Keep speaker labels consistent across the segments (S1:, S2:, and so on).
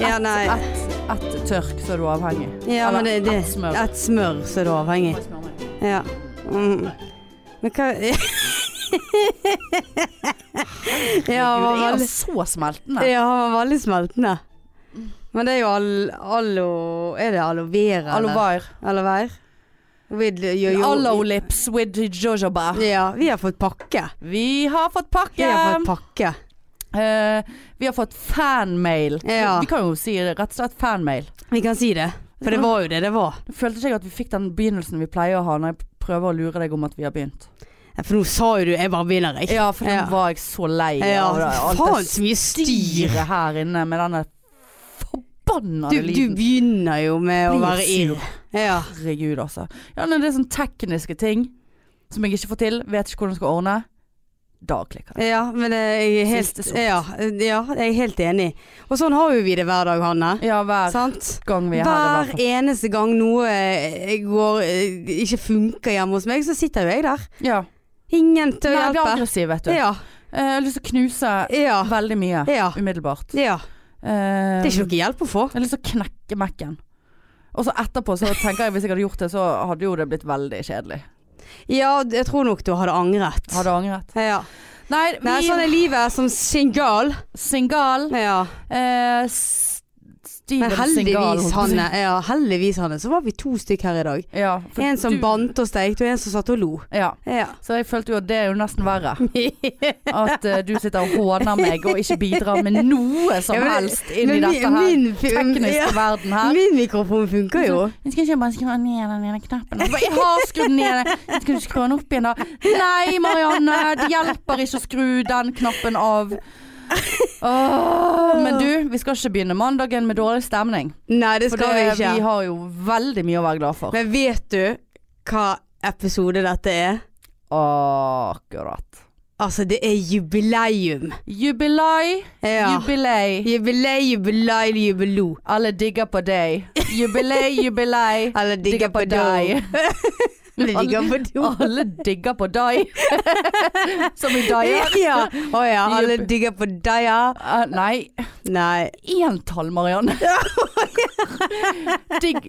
S1: Ja, nei.
S2: Ett et tørk, så er du avhengig.
S1: Ja, men det,
S2: Eller
S1: det,
S2: ett smør.
S1: Et smør, så er du avhengig. Ja. Mm. Men hva Ja, han var
S2: Gud, er han
S1: veldig,
S2: så smeltende?
S1: ja, han var veldig smeltende. Men det er jo al alo... Er det aloe vera?
S2: Aloe
S1: eller?
S2: vera.
S1: Aloe vera? Vi d- jo- jo-
S2: Aloe lips with jojoba.
S1: Ja, vi har fått pakke.
S2: Vi har fått
S1: Vi
S2: pakke!
S1: har fått pakke.
S2: Eh, vi har fått fanmail.
S1: Ja.
S2: Vi kan jo si det, rett og slett fanmail.
S1: Vi kan si det. For det var jo det det var.
S2: Nå følte ikke jeg at vi fikk den begynnelsen vi pleier å ha når jeg prøver å lure deg om at vi har begynt.
S1: Ja, For nå sa jo du 'jeg bare begynner', jeg.
S2: Ja, for nå
S1: Ja.
S2: var jeg så lei
S1: Ja,
S2: av det. alt
S1: faen
S2: det
S1: så mye styr.
S2: styret her inne med denne forbanna
S1: Du, du
S2: lyden.
S1: begynner jo med å
S2: Blir
S1: være irr. Ja.
S2: Herregud, altså. Ja, når det er sånne tekniske ting som jeg ikke får til, vet ikke hvordan jeg skal ordne, da klikker det.
S1: ja, men det- jeg er helt,
S2: Siste sort.
S1: ja, ja, jeg er helt enig. Og sånn har jo vi det hver dag, Hanne.
S2: Ja, hver
S1: Sant?
S2: gang vi er her.
S1: Hver
S2: det er
S1: eneste gang noe eh, går, eh, ikke funker hjemme hos meg, så sitter jo jeg der.
S2: hvertfall- Ja.
S1: Ingen til å
S2: Nei, jeg blir
S1: hjelpe.
S2: aggressiv, vet du.
S1: Ja,
S2: Eh, Jeg har lyst til å knuse
S1: ja,
S2: veldig mye.
S1: ja,
S2: Umiddelbart.
S1: ja.
S2: Eh,
S1: Det er ikke noe hjelp å få.
S2: Jeg har lyst til å knekke Mac-en. Og så etterpå så tenker jeg hvis jeg hadde gjort det, så hadde jo det blitt veldig kjedelig.
S1: Ja, jeg tror nok du hadde angret.
S2: Hadde angret.
S1: Ja.
S2: Nei, vi
S1: Nei, sånn er livet som single.
S2: Singal
S1: Ja.
S2: eh, S- Steven
S1: Men
S2: Singal,
S1: heldigvis,
S2: holdt jeg på å si.
S1: Hanne, ja, heldigvis, Hanne, så var vi to stykk her i dag.
S2: Ja, for
S1: En som
S2: du-
S1: bandt og stekte, og en som satt og lo.
S2: Ja.
S1: Ja.
S2: Så jeg følte jo at det er jo nesten verre. At eh, du sitter og håner meg og ikke bidrar med noe som
S1: Ja, men-
S2: helst inn i dette her
S1: min, fi-
S2: tekniske
S1: ja,
S2: verden her.
S1: min mikrofon funker jo.
S2: Jeg skal ikke bare skru ned den ene knappen. Altså, Jeg bare, Jeg har skrudd ned den. Jeg Skal du skru den opp igjen, da? Nei, Marianne. Det hjelper ikke å skru den knappen av. Åh, men du, vi skal ikke begynne mandagen med dårlig stemning.
S1: Nei, det
S2: Altså, For
S1: skal vi
S2: det,
S1: ikke.
S2: vi har jo veldig mye å være glad for.
S1: Men vet du hva episode dette er?
S2: Akkurat.
S1: Altså, det er jubileum.
S2: Jubilei,
S1: Ja.
S2: jubilei.
S1: Jubilei, jubilei, jubilo.
S2: Alle digger på deg. Jubilei, jubilei.
S1: Eller digger på deg. Eller digger på do.
S2: Alle digger på deg. Som i deier.
S1: Ja. Å ja, alle
S2: Jub-
S1: digger på deg, ja.
S2: Eh, nei,
S1: Nei.
S2: entall, Marianne. Digg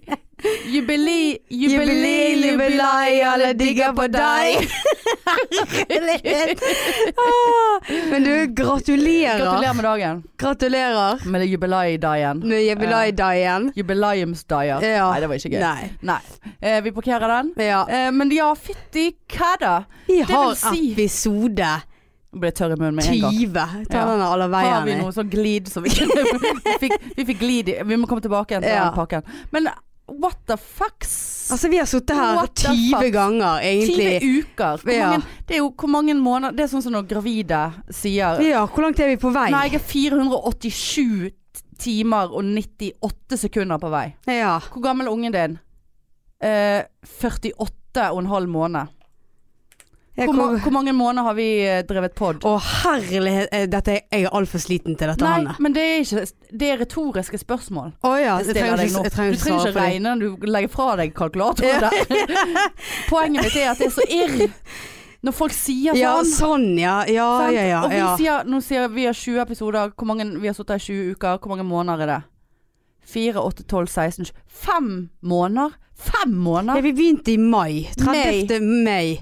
S2: Jubili,
S1: Jubilei,
S2: jubili,
S1: jubilei, alle digger på deg. Herlighet. Ah, Men du, gratulerer.
S2: Gratulerer med dagen.
S1: Gratulerer
S2: Med det jubileidagen.
S1: med jubileidagen.
S2: Jubileumsdagen.
S1: Ja.
S2: Nei, det var ikke gøy.
S1: Nei.
S2: Nei. Eh, vi parkerer den.
S1: Ja.
S2: Eh, men ja, fytti kadda.
S1: Vi
S2: vil
S1: har
S2: si-
S1: episode
S2: Nå ble jeg tørr i munnen med en
S1: 20.
S2: gang.
S1: Ta
S2: Ja.
S1: den alle eh.
S2: Har vi
S1: veiene.
S2: noe sånn glid som vi Vi fikk, vi fikk glid i Vi må komme tilbake igjen til
S1: Ja.
S2: den pakken. Men what the fucks?
S1: Altså, vi har sittet her
S2: What the
S1: 20
S2: fuck?
S1: ganger, egentlig.
S2: 20 uker. Hvor,
S1: Ja.
S2: mange, det er jo hvor mange måneder Det er sånn som når gravide sier
S1: Ja, hvor langt er vi på vei?
S2: Nei, jeg er 487 timer og 98 sekunder på vei.
S1: Ja.
S2: Hvor gammel er ungen din? Eh, 48 og en halv måned.
S1: Jeg
S2: Hvor, ma
S1: kom...
S2: hvor mange måneder har vi eh, drevet pod?
S1: Å herlighet, eh, dette, er- jeg er altfor sliten til dette,
S2: Nei,
S1: Hanne.
S2: men det er ikke Det er retoriske spørsmål.
S1: Å ja, jeg
S2: Jeg stiller
S1: trenger
S2: deg
S1: ikke,
S2: nå.
S1: jeg trenger
S2: Du
S1: ikke
S2: trenger
S1: svare
S2: ikke
S1: på det.
S2: regne, du legger fra deg kalkulatoren der. Poenget mitt er at det er så irr når folk sier sånn.
S1: Ja, sånn, ja. Ja,
S2: Sant?
S1: ja, ja.
S2: Og vi
S1: ja.
S2: sier, nå sier vi har 20 episoder, hvor mange, vi har sittet her i 20 uker, hvor mange måneder er det? 4, 8, 12, 16, 20. Fem måneder? Fem
S1: Ja,
S2: måneder?
S1: vi begynte i mai. 30. mai,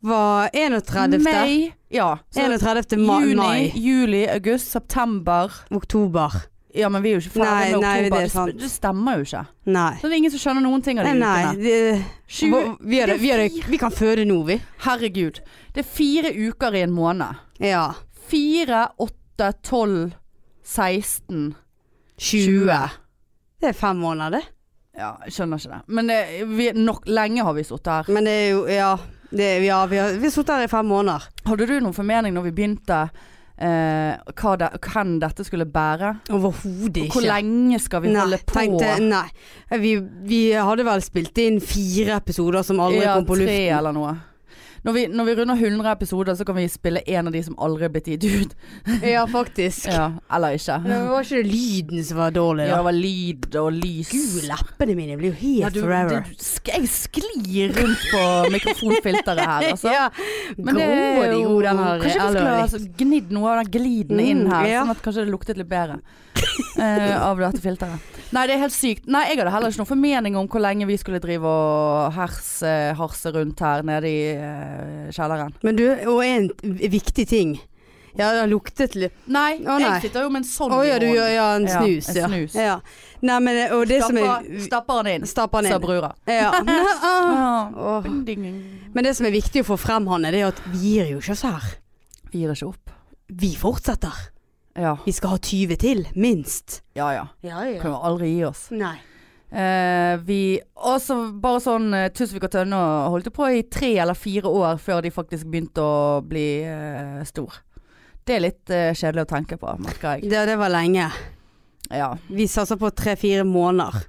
S1: var 31.
S2: Mai, ja. Så
S1: 31. Ma
S2: juni,
S1: mai.
S2: juli, august, september.
S1: Oktober.
S2: Ja, men vi er jo ikke ferdig
S1: Nei,
S2: med
S1: nei,
S2: oktober.
S1: det er
S2: Det,
S1: sant.
S2: sp- det stemmer jo ikke.
S1: Nei.
S2: Så det er ingen som skjønner noen ting av de
S1: Nei, nei.
S2: ukene.
S1: det-
S2: Tjue-
S1: Hva- vi, er, vi, er, vi kan føde nå, vi.
S2: Herregud. Det er fire uker i en måned.
S1: Ja.
S2: 4, 8, 12, 16,
S1: 20. Det er fem måneder, det.
S2: Ja, jeg skjønner ikke det. Men eh, vi, nok, lenge har vi sittet her.
S1: Men det er jo Ja. Det, er- ja vi har, vi har sittet her i fem måneder.
S2: Hadde du noen formening når vi begynte eh, hva det, hvem dette skulle bære?
S1: Overhodet
S2: Og
S1: ikke.
S2: hvor lenge skal vi
S1: nei,
S2: holde på?
S1: tenkte- nei. Vi, vi hadde vel spilt inn fire episoder som aldri
S2: ja,
S1: kom på
S2: tre
S1: luften.
S2: eller noe. Når vi, når vi runder 100 episoder, så kan vi spille en av de som aldri er blitt gitt ut.
S1: Ja, faktisk.
S2: Ja, eller ikke.
S1: Men var ikke det lyden som var dårlig,
S2: Ja,
S1: da?
S2: det var lyd og lys.
S1: Gud, leppene mine blir jo helt
S2: Ja, du,
S1: forever.
S2: det- du- sk- jeg sklir rundt på mikrofonfilteret her, altså.
S1: ja.
S2: Men det er jo Kanskje vi skulle ha altså, gnidd noe av den gliden inn
S1: Mm,
S2: her,
S1: ja.
S2: sånn at kanskje det luktet litt bedre eh, av dette filteret. Nei, det er helt sykt. Nei, jeg hadde heller ikke noen formening om hvor lenge vi skulle drive og herse, harse rundt her nede i eh, kjelleren.
S1: Men du, og en viktig ting. Ja, det har luktet litt
S2: Nei,
S1: Å, nei.
S2: jeg sitter jo med en
S1: Å
S2: sånn
S1: ja, du
S2: i
S1: gjør
S2: hånden.
S1: ja, en
S2: Ja,
S1: snus,
S2: en
S1: ja.
S2: snus.
S1: ja. Nei, men det- og det som
S2: Stapper,
S1: er
S2: stapper den inn,
S1: Stapper den
S2: sa
S1: inn.
S2: brura.
S1: Ja. Ah.
S2: Ah.
S1: Åh.
S2: Vi
S1: Men det som er viktig å få frem, Hanne, det er at vi gir jo ikke oss her.
S2: gir ikke opp.
S1: Vi fortsetter.
S2: Ja,
S1: Vi skal ha 20 til, minst.
S2: ja. ja.
S1: Ja,
S2: Kan jo aldri gi oss.
S1: Nei.
S2: Eh, vi også bare sånn eh, Tusvik og Tønne holdt jo på i tre eller fire år før de faktisk begynte å bli eh, stor. Det er litt eh, kjedelig å tenke på, merker jeg.
S1: Det, det var lenge.
S2: Ja,
S1: Vi satser på tre-fire måneder.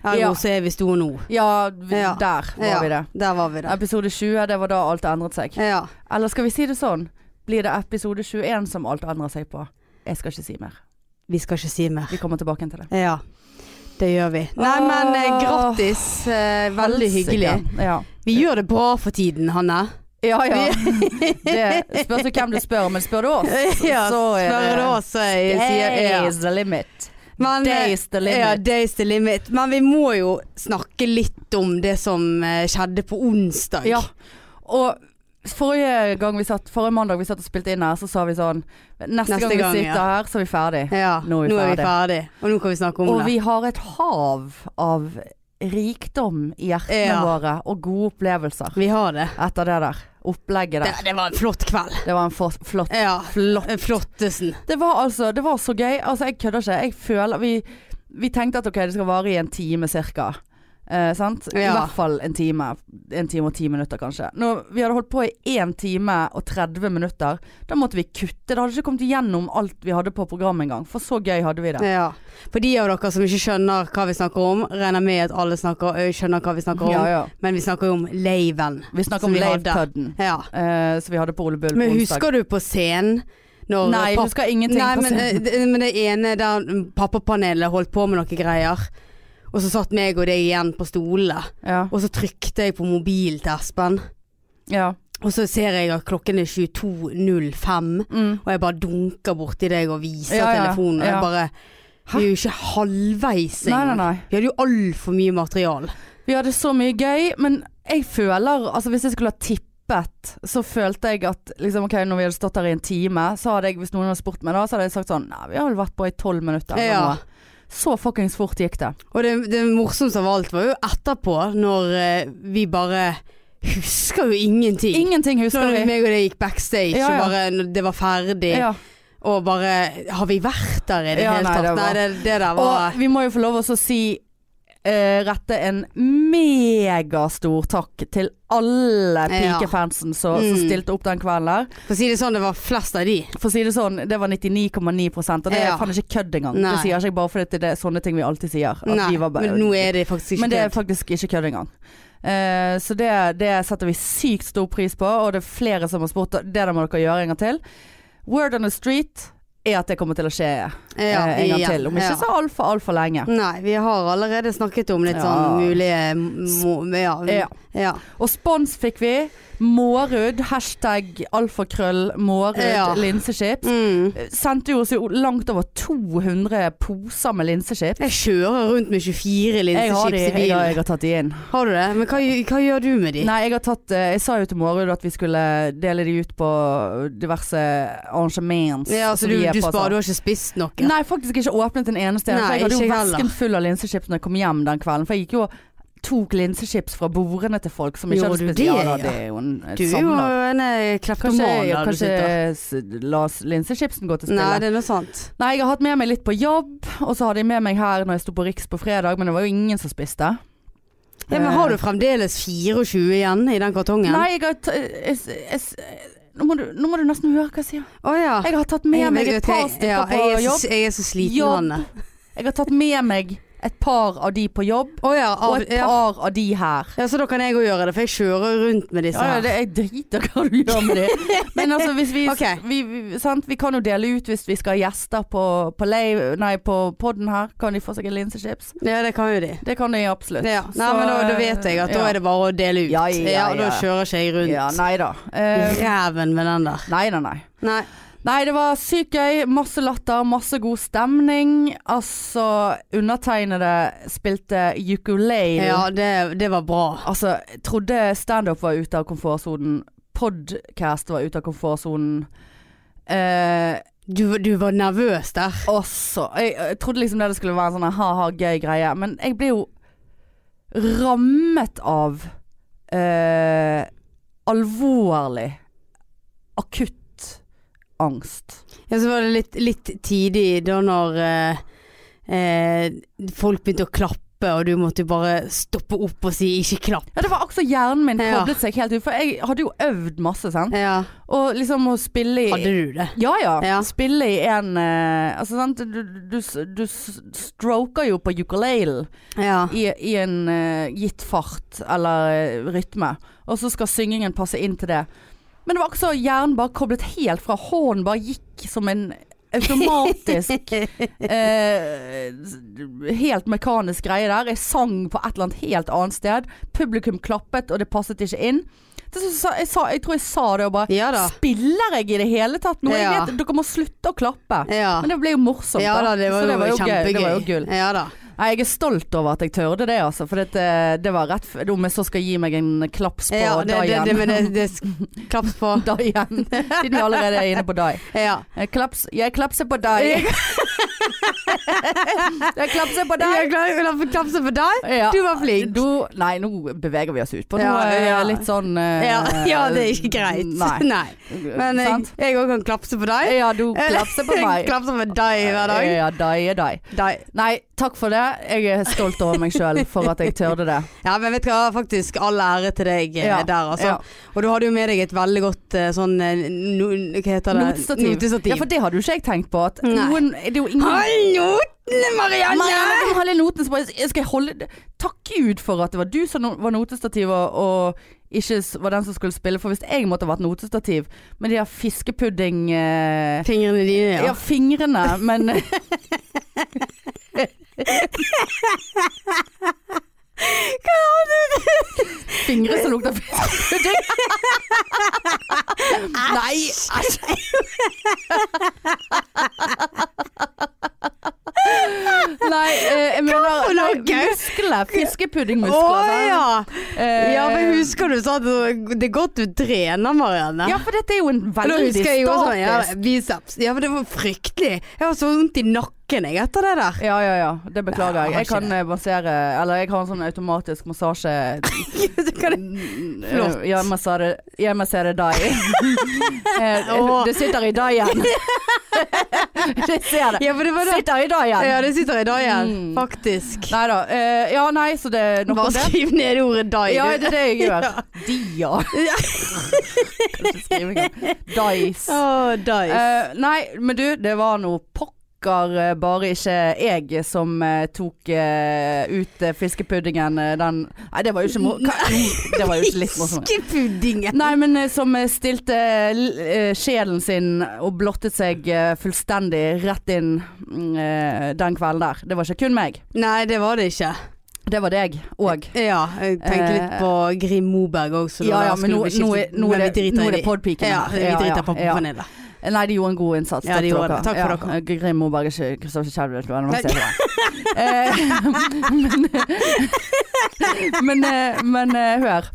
S1: Ergo
S2: Ja.
S1: så er vi store nå.
S2: ja, vi,
S1: Ja.
S2: der var
S1: Ja,
S2: vi det.
S1: Der var vi det.
S2: Episode 20, det var da alt endret seg.
S1: Ja.
S2: Eller skal vi si det sånn? Blir det episode 21 som alt endrer seg på? Jeg skal ikke si mer.
S1: Vi skal ikke si mer.
S2: Vi kommer tilbake til det.
S1: Ja. Det gjør vi. Nei, men eh,
S2: Åh.
S1: grattis. Eh, veldig
S2: Helsike.
S1: hyggelig.
S2: Ja.
S1: Vi gjør det bra for tiden, Hanne.
S2: ja ja. Det spørs jo hvem du spør, men spør du oss,
S1: ja,
S2: så er
S1: spør du
S2: det
S1: oss, så jeg sier ja.
S2: Days the limit.
S1: Men, eh,
S2: Days the limit.
S1: Ja, days the limit. Men vi må jo snakke litt om det som eh, skjedde på onsdag.
S2: Ja. Og forrige gang vi satt, forrige mandag vi satt og spilte inn her, så sa vi sånn Neste, gang,
S1: gang,
S2: vi sitter
S1: ja.
S2: her, så er vi ferdig.
S1: Ja, Nå er vi ferdig. Og nå kan vi snakke om
S2: Og
S1: det.
S2: vi har et hav av rikdom i hjertene
S1: Ja.
S2: våre, og gode opplevelser
S1: Vi har det.
S2: etter det der. Opplegget
S1: det.
S2: der.
S1: Det var en flott kveld.
S2: Det var en for, flott
S1: Ja. Eh,
S2: Flott.
S1: En flottesen.
S2: Det var altså Det var så gøy. Altså, jeg kødder ikke. Jeg føler Vi, vi tenkte at ok, det skal vare i en time cirka. Eh, sant? I
S1: Ja.
S2: hvert fall en time. En time og ti minutter, kanskje. Når vi hadde holdt på i én time og 30 minutter, da måtte vi kutte. Det hadde ikke kommet igjennom alt vi hadde på programmet engang. For så gøy hadde vi det.
S1: Ja. For de av dere som ikke skjønner hva vi snakker om, regner med at alle snakker, ø, skjønner hva vi snakker om.
S2: Ja, ja.
S1: Men vi snakker jo om laven.
S2: Vi snakker
S1: Som
S2: om
S1: vi
S2: Lave
S1: hadde.
S2: Pudden,
S1: Ja.
S2: eh, som vi hadde på Ole Bull på
S1: Men
S2: onsdag.
S1: husker du på scenen når
S2: Nei, jeg
S1: pappa-
S2: husker ingenting.
S1: Nei,
S2: fra
S1: men,
S2: scenen.
S1: eh, det, men det ene der pappapanelet holdt på med noen greier. Og så satt meg og deg igjen på stolene.
S2: ja.
S1: Og så trykte jeg på mobilen til Espen.
S2: ja.
S1: Og så ser jeg at klokken er 22.05.
S2: Mm.
S1: Og jeg bare dunker borti deg og viser
S2: Ja, ja,
S1: telefonen. Og
S2: ja.
S1: jeg bare Vi er jo ikke halvveis
S2: Nei, nei,
S1: engang.
S2: nei.
S1: Vi hadde jo altfor mye material.
S2: Vi hadde så mye gøy, men jeg føler Altså hvis jeg skulle ha tippet, så følte jeg at liksom, ok, når vi hadde stått her i en time, så hadde jeg, hvis noen hadde spurt meg da, så hadde jeg sagt sånn Nei, vi har vel vært på i tolv minutter. eller
S1: Ja.
S2: noe." Så fuckings fort gikk det.
S1: Og det, det morsomste av alt var jo etterpå, når eh, vi bare husker jo ingenting.
S2: Ingenting husker
S1: når
S2: vi.
S1: meg og deg gikk backstage,
S2: Ja, ja.
S1: og bare når det var ferdig,
S2: Ja.
S1: og bare Har vi vært der i det
S2: Ja,
S1: hele
S2: nei,
S1: tatt?
S2: det var-
S1: Nei, det, det der var
S2: Og vi må jo få lov å så si eh, rette en megastor takk til alle
S1: Ja.
S2: pikefansen som, som
S1: Mm.
S2: stilte opp den kvelden der.
S1: For å si det sånn, det var flest av de.
S2: For å si det sånn, det var 99,9 og det
S1: Ja.
S2: er faen ikke kødd engang.
S1: Nei.
S2: Det sier ikke jeg bare fordi det er det- sånne ting vi alltid sier. At
S1: Nei,
S2: vi var bare-
S1: men nå er det faktisk ikke
S2: Men det er
S1: det.
S2: faktisk ikke kødd engang. Eh, så det, det setter vi sykt stor pris på, og det er flere som har spurt. og Det der må dere gjøre en gang til. Word on the street er at det kommer til å skje eh,
S1: Ja,
S2: en gang
S1: igjen.
S2: til. Om ikke
S1: Ja. Mm.
S2: så altfor, altfor lenge.
S1: Nei, vi har allerede snakket om litt
S2: Ja.
S1: sånn mulige må, ja,
S2: Ja.
S1: ja.
S2: Og spons fikk vi. Mårud. Hashtag alfakrøll mårud
S1: Ja.
S2: linsechips.
S1: Mm.
S2: Sendte jo oss jo langt over 200 poser med linsechips.
S1: Jeg kjører rundt med 24
S2: Jeg har, de,
S1: linsechips i
S2: jeg, har, jeg
S1: bilen.
S2: har tatt de inn.
S1: Har du det? Men hva, hva gjør du med de?
S2: Nei, jeg har tatt eh, Jeg sa jo til Mårud at vi skulle dele de ut på diverse arrangements.
S1: ja, altså,
S2: som
S1: du,
S2: vi er
S1: du
S2: på,
S1: sparer, du
S2: altså.
S1: har ikke spist noe?
S2: Nei, faktisk ikke åpnet en eneste en.
S1: Nei,
S2: for Jeg hadde
S1: ikke
S2: jo
S1: jeg
S2: vesken
S1: heller.
S2: full av linsechips når jeg kom hjem den kvelden. For jeg gikk jo og tok linsechips fra bordene til folk som ikke
S1: Gjorde
S2: hadde
S1: du
S2: spist. Ja,
S1: det,
S2: da,
S1: ja?
S2: det er jo en et
S1: Du er jo
S2: savner.
S1: en eh,
S2: Kanskje,
S1: kleptoman
S2: ja,
S1: der du
S2: kanskje
S1: sitter.
S2: s- la s- linsechipsen gå til spille.
S1: Nei,
S2: Nei,
S1: det er noe sant.
S2: jeg har hatt med meg litt på jobb, og så hadde jeg med meg her når jeg sto på Riks på fredag, men det var jo ingen som spiste.
S1: Ja, men har du fremdeles 24 igjen i den kartongen?
S2: Eh. Nei, jeg har t jeg, jeg, jeg, nå, må du, nå må du nesten høre hva jeg sier.
S1: Å ja.
S2: Ah. Jeg har tatt med meg
S1: vet-
S2: et par
S1: jeg- ja,
S2: stykker på
S1: jeg er så-
S2: jobb.
S1: Jeg er så sliten,
S2: Jobb.
S1: Hanne.
S2: Jeg har tatt med meg et par av de på jobb,
S1: Å ja,
S2: og
S1: av,
S2: et
S1: ja.
S2: par av de her.
S1: ja, så da kan jeg òg gjøre det, for jeg kjører rundt med disse
S2: Ja, ja,
S1: her.
S2: det, jeg driter hva du gjør med det. Men altså, hvis vi,
S1: Ok.
S2: vi, vi, sant? vi kan jo dele ut hvis vi skal ha gjester på, på, lei- nei, på podden her. Kan de få seg en linsechips?
S1: Ja, det kan jo de.
S2: Det kan de absolutt.
S1: Ja. Nei,
S2: Så,
S1: men da, da vet jeg at da
S2: ja.
S1: er det bare å dele ut.
S2: Ja, ja,
S1: da
S2: ja.
S1: kjører ikke jeg
S2: Ja,
S1: rundt.
S2: nei da. Eh,
S1: Jæven med den der.
S2: nei, nei, nei.
S1: Nei.
S2: Nei, det var sykt gøy. Masse latter, masse god stemning. Altså, undertegnede spilte ukulele.
S1: Ja, det, det var bra.
S2: Altså, jeg trodde standup var ute av komfortsonen. Podcast var ute av komfortsonen. Eh,
S1: Du, du var nervøs der.
S2: også jeg, jeg trodde liksom det skulle være en sånn ha-ha, gøy greie. Men jeg ble jo rammet av eh, alvorlig, akutt angst.
S1: Ja, så var det litt, litt tidlig da når eh, eh, folk begynte å klappe, og du måtte bare stoppe opp og si 'ikke klapp'.
S2: Ja, det var akkurat hjernen min
S1: Ja.
S2: koblet seg helt ut. For jeg hadde jo øvd masse, sant.
S1: Ja.
S2: Og liksom å spille i
S1: Hadde du det?
S2: Ja ja.
S1: Ja.
S2: Spille i en eh, Altså, sant. Du, du, du s- stroker jo på ukulelen
S1: Ja.
S2: i, i en eh, gitt fart eller eh, rytme. Og så skal syngingen passe inn til det. Men det var akkurat som hjernen bare koblet helt fra. Hånden bare gikk som en automatisk eh, helt mekanisk greie der. Jeg sang på et eller annet helt annet sted. Publikum klappet, og det passet ikke inn. Til slutt sa- jeg, sa, jeg tror jeg sa det og bare
S1: Ja da.
S2: Spiller jeg i det hele tatt nå? Jeg
S1: Ja.
S2: vet, dere må slutte å klappe.
S1: Ja.
S2: Men det ble jo morsomt.
S1: ja da, det
S2: Så
S1: var,
S2: det var
S1: jo
S2: jo gøy.
S1: kjempegøy.
S2: Det var jo gull.
S1: Ja da.
S2: Nei, jeg er stolt over at jeg tørde det, altså. For det, det var rett før Om jeg så skal gi meg en klaps på
S1: Ja, det,
S2: die
S1: det, det,
S2: igjen.
S1: men det, det sk- klaps på.
S2: Die igjen. Siden vi allerede er inne på die.
S1: Ja.
S2: Jeg, klaps, jeg klapser på die. jeg klapser på die.
S1: Jeg er glad jeg får klapse på deg.
S2: Ja.
S1: Du var flink.
S2: Du- nei, nå beveger vi oss ut på noe
S1: Ja, ja.
S2: eh, litt sånn eh,
S1: Ja, ja, det er ikke greit.
S2: Nei.
S1: Men jeg
S2: Sant?
S1: jeg òg kan klapse på deg.
S2: Ja, du klapser på meg. Eh,
S1: klapse på deg hver dag.
S2: Ja, die er die.
S1: Deg.
S2: Nei, takk for det. Jeg er stolt over meg sjøl for at jeg tørde det.
S1: Ja, men vet du hva, faktisk all ære til deg eh,
S2: Ja,
S1: der, altså.
S2: ja.
S1: Og du hadde jo med deg et veldig godt eh, sånn eh, no, Hva heter det?
S2: Notestativ.
S1: Notestativ.
S2: Ja, for det hadde jo ikke jeg tenkt på. At
S1: Nei.
S2: noen, det er jo ingen
S1: Hold notene, Marianne!
S2: Marianne, du holder noten, så bare jeg skal holde det. Takk Gud for at det var du som no- var notestativ, og, og ikke s- var den som skulle spille. For hvis jeg måtte ha vært notestativ med de der fiskepudding... Eh,
S1: Fingrene dine,
S2: ja.
S1: ja.
S2: fingrene, men
S1: Hva har du?
S2: fingre som lukter fiskepudding. Nei, æsj. Nei, eh, jeg
S1: for
S2: mener nei,
S1: noe?
S2: muskler. Fiskepuddingmuskler.
S1: Å
S2: sant?
S1: ja.
S2: Eh,
S1: ja, men husker du sa at du- det er godt du trener, Marianne?
S2: Ja, for dette er jo en
S1: Og da
S2: veldig
S1: husker jeg jo sånn, ja,
S2: statisk
S1: biceps. Ja, men det var fryktelig. Jeg har så vondt i nakken jeg etter det der.
S2: Ja, ja, ja. Det
S1: Nei,
S2: beklager jeg. Jeg
S1: jeg har ikke
S2: kan eh, massere Eller jeg har en sånn automatisk massasje
S1: Så kan jeg- Flott.
S2: Eh, Jeg masserer, jeg masserer deg. Eh,
S1: Åh.
S2: det sitter i deg igjen. Jeg ser det.
S1: Ja, for det var
S2: Det
S1: det.
S2: sitter i deg igjen.
S1: Ja, det sitter i dag igjen,
S2: Mm.
S1: faktisk.
S2: Nei da. eh, Ja, nei, så det er nok
S1: Bare
S2: om det.
S1: skriv ned ordet dag.
S2: Ja, det er det jeg gjør.
S1: Ja.
S2: Dia.
S1: Ja.
S2: Kanskje skrive engang. Dice.
S1: Å, dice.
S2: Eh, nei, men du, det var noe pokker eh, bare ikke jeg som eh, tok eh, ut eh, fiskepuddingen eh, den Nei, det var jo ikke mo- Hva- Det var jo ikke litt morsomt.
S1: Fiskepuddingen.
S2: Nei, men eh, som eh, stilte l- eh, sjelen sin og blottet seg eh, fullstendig rett inn mm, eh, den kvelden der. Det var ikke kun meg.
S1: Nei, det var det ikke.
S2: Det var deg òg.
S1: Ja, jeg tenkte litt
S2: Eh,
S1: på Grim Moberg også.
S2: Ja, ja, men nå, nå, er, nå, er det, nå er det podpiken
S1: Ja,
S2: her.
S1: vi driter på
S2: ja.
S1: panela.
S2: Nei, de gjorde en god innsats.
S1: Ja, de gjorde det. Takk for
S2: Ja. Grim Moberg er ikke Kristoffer Kjelvø. Men, men, eh, men eh, hør.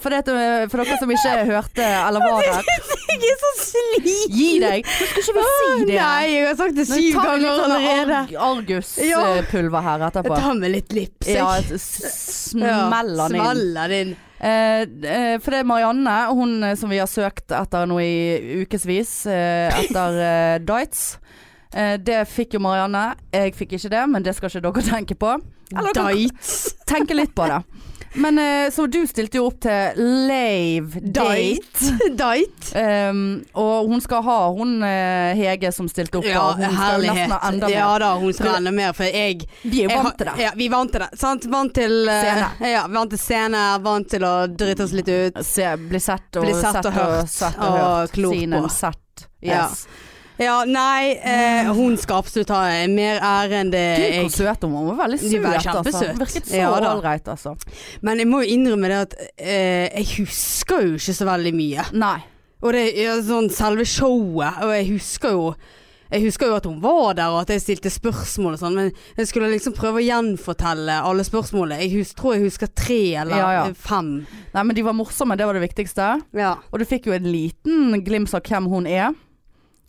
S2: For, det, at, eh, for dere som ikke hørte eller var der,
S1: Jeg er så sliten!
S2: gi deg. Nå skal ikke vi si det.
S1: Nei, jeg har sagt det
S2: Nå
S1: syv
S2: tar vi litt
S1: ganger
S2: sånn
S1: allerede.
S2: Arg, Arguspulver eh, her
S1: Jeg
S2: etterpå.
S1: tar med litt lips, jeg.
S2: Ja, s- smeller den inn.
S1: Smeller den inn.
S2: Eh, eh, for det er Marianne, hun eh, som vi har søkt etter nå i ukevis, eh, etter eh, Dights. Eh, det fikk jo Marianne. Jeg fikk ikke det, men det skal ikke dere tenke på. Eller dere
S1: Dites.
S2: kan tenke litt på det. Men eh, så du stilte jo opp til lave date.
S1: Date.
S2: Ehm, og hun skal ha hun eh, Hege som stilte opp. da.
S1: Ja,
S2: hun skal jo nesten ha
S1: herlighet.
S2: enda mer.
S1: Ja da, hun skal
S2: Du-
S1: enda mer, for jeg
S2: Vi
S1: jeg
S2: er jo
S1: har-
S2: vant til det.
S1: Ja, vi er vant til det. Sant? Vant til eh,
S2: Scene.
S1: Ja, vant til scene, vant til å drite oss litt ut.
S2: Se, bli sett og,
S1: Bli sett og hørt.
S2: sett og,
S1: Og
S2: hørt.
S1: klort
S2: Seen
S1: på.
S2: and Sett.
S1: Ja.
S2: Yes.
S1: Ja, nei, eh, hun skal absolutt ha mer ære enn det
S2: Gud, hvor
S1: jeg
S2: søt hun var. Hun var veldig
S1: De
S2: søt.
S1: var
S2: altså.
S1: kjempesøt.
S2: Virket så
S1: Ja, da.
S2: ålreit, altså.
S1: Men jeg må jo innrømme det at eh, jeg husker jo ikke så veldig mye.
S2: Nei.
S1: Og det er sånn selve showet, og jeg husker jo jeg husker jo at hun var der, og at jeg stilte spørsmål og sånn, men jeg skulle liksom prøve å gjenfortelle alle spørsmålene. Jeg hus tror jeg husker tre eller
S2: Ja, ja.
S1: eh, fem.
S2: Nei, men de var morsomme, det var det viktigste.
S1: Ja,
S2: Og du fikk jo en liten glimt av hvem hun er.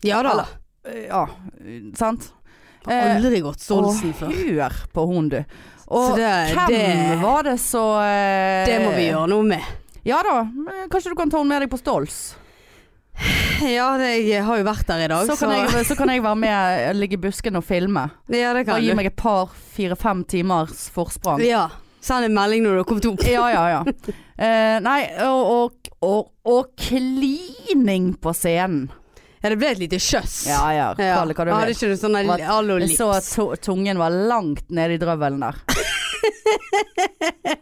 S1: ja da.
S2: Eller- Eh, Ja, sant?
S1: Har Aldri gått Stolsen
S2: og
S1: før.
S2: hør på hun, du. Og
S1: Så det-
S2: hvem
S1: det-
S2: var det så eh,
S1: Det må vi gjøre noe med.
S2: Ja da, eh, kanskje du kan ta henne med deg på Stols.
S1: Ja, det, jeg har jo vært der i dag,
S2: Så kan, jeg, så kan jeg være med, eh, ligge i busken og filme.
S1: Ja, det
S2: Og
S1: kan
S2: gi
S1: du.
S2: meg et par, fire-fem timers forsprang.
S1: Ja. Send en melding når du har kommet opp.
S2: Ja, ja, ja. Eh, nei, og, og, og, og klining på scenen.
S1: Ja, det ble et lite kjøss.
S2: Ja, ja, kall det hva du
S1: Ja, Hadde
S2: vil.
S1: ikke du sånn
S2: Hva- Jeg
S1: allolips?
S2: så at to- tungen var langt nede i drøvelen der.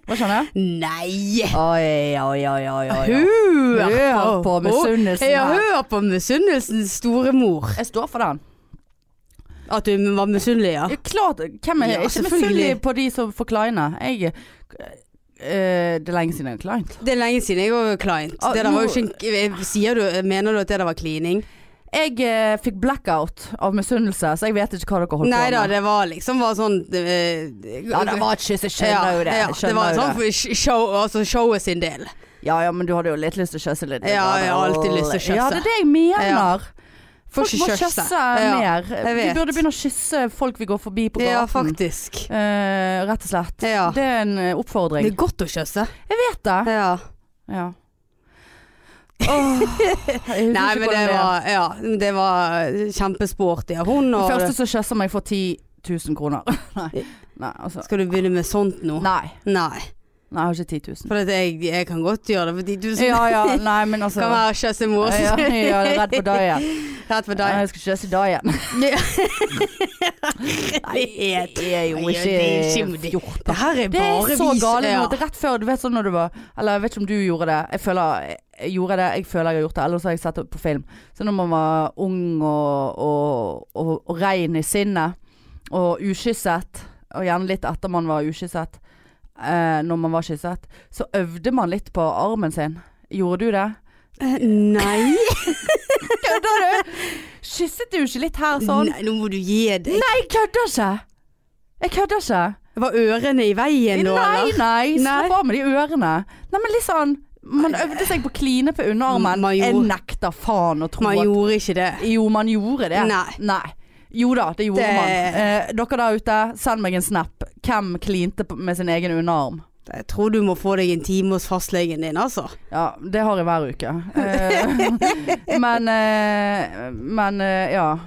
S2: Hva skjønner jeg?
S1: Nei!
S2: Oi, oi, oi, oi, oi.
S1: Hør,
S2: Hør på misunnelsen
S1: Ja,
S2: her.
S1: hør på misunnelsens store mor.
S2: Jeg står for den.
S1: At du var misunnelig, ja.
S2: Ja, klart, hvem er
S1: Ja,
S2: ikke
S1: selvfølgelig.
S2: misunnelig på de som får kleine? Jeg, eh, det er lenge siden jeg har kleint.
S1: Det er lenge siden jeg var client.
S2: Ah,
S1: det der var jo
S2: nå-
S1: ikke en eh, sier du, Mener du at det der var klining?
S2: Jeg eh, fikk blackout av misunnelse, så jeg vet ikke hva dere holdt
S1: Nei da,
S2: på med.
S1: det var liksom bare sånn eh,
S2: Ja, det var et kyss, jeg
S1: Ja,
S2: skjønner jo
S1: ja,
S2: det. jeg
S1: det
S2: skjønner
S1: var
S2: jo
S1: sånn
S2: det.
S1: for sh- show, altså showet sin del.
S2: Ja, ja, men du hadde jo litt lyst til å kysse litt.
S1: Ja, jeg har alltid lyst til å kysse.
S2: Ja, det er det jeg mener.
S1: Får
S2: Folk
S1: ikke
S2: må
S1: kysse.
S2: kysse
S1: Ja,
S2: mer.
S1: jeg
S2: Vi
S1: vet.
S2: burde begynne å kysse folk vi går forbi på gaten.
S1: Ja, faktisk.
S2: Eh, rett og slett.
S1: Ja.
S2: Det er en eh,
S1: Det
S2: oppfordring.
S1: er godt å kysse.
S2: Jeg vet det.
S1: Ja.
S2: Ja. Åh, jeg husker
S1: Nei, men
S2: ikke
S1: det
S2: hvordan er.
S1: var, ja, det var eh, kjempesporty av hun.
S2: Den
S1: Og
S2: første som kysser meg, får 10 000 kroner. Nei. Nei, altså.
S1: Skal du begynne med sånt nå?
S2: Nei.
S1: Nei.
S2: Nei, jeg har ikke 10 000.
S1: For at jeg, jeg kan godt gjøre det for 10 000.
S2: Ja, ja, nei, men altså
S1: Kan være kjøss i mor.
S2: ja, ja, jeg er redd for deg igjen.
S1: Rett for
S2: Nei,
S1: deg.
S2: Jeg skal ikke si deg igjen.
S1: Nei, det er
S2: Jeg er jo
S1: det er
S2: ikke
S1: ikke-
S2: 14.
S1: Det her er
S2: Det
S1: bare
S2: er så
S1: vis-
S2: gale nå.
S1: ja.
S2: at det er Rett før, du vet sånn når du var Eller jeg vet ikke om du gjorde det. Jeg føler jeg gjorde det, jeg føler jeg har gjort det. Ellers har jeg sett det på film. Så når man var ung og, og, og, og rein i sinnet, og ukysset, og gjerne litt etter man var ukysset, eh, når man var kysset, så øvde man litt på armen sin. Gjorde du det?
S1: Eh, Nei.
S2: Kødder du? Kysset du ikke litt her sånn?
S1: Nei, nå må du gi deg.
S2: Nei, jeg kødder ikke! Jeg kødder ikke.
S1: Var ørene i veien nå,
S2: nei,
S1: eller?
S2: nei,
S1: Nei.
S2: slapp av med de ørene. Nei, men litt sånn Man øvde seg på å kline på underarmen.
S1: Man
S2: Jeg
S1: gjorde-
S2: nekter faen å tro
S1: Man
S2: at
S1: gjorde ikke det.
S2: Jo, man gjorde det.
S1: Nei.
S2: Jo da, det gjorde
S1: Det-
S2: man. Eh, dere der ute, send meg en snap. Hvem klinte på- med sin egen underarm?
S1: Jeg tror du må få deg en time hos fastlegen din, altså.
S2: Ja, det har jeg hver uke. Eh, men eh, Men eh, ja.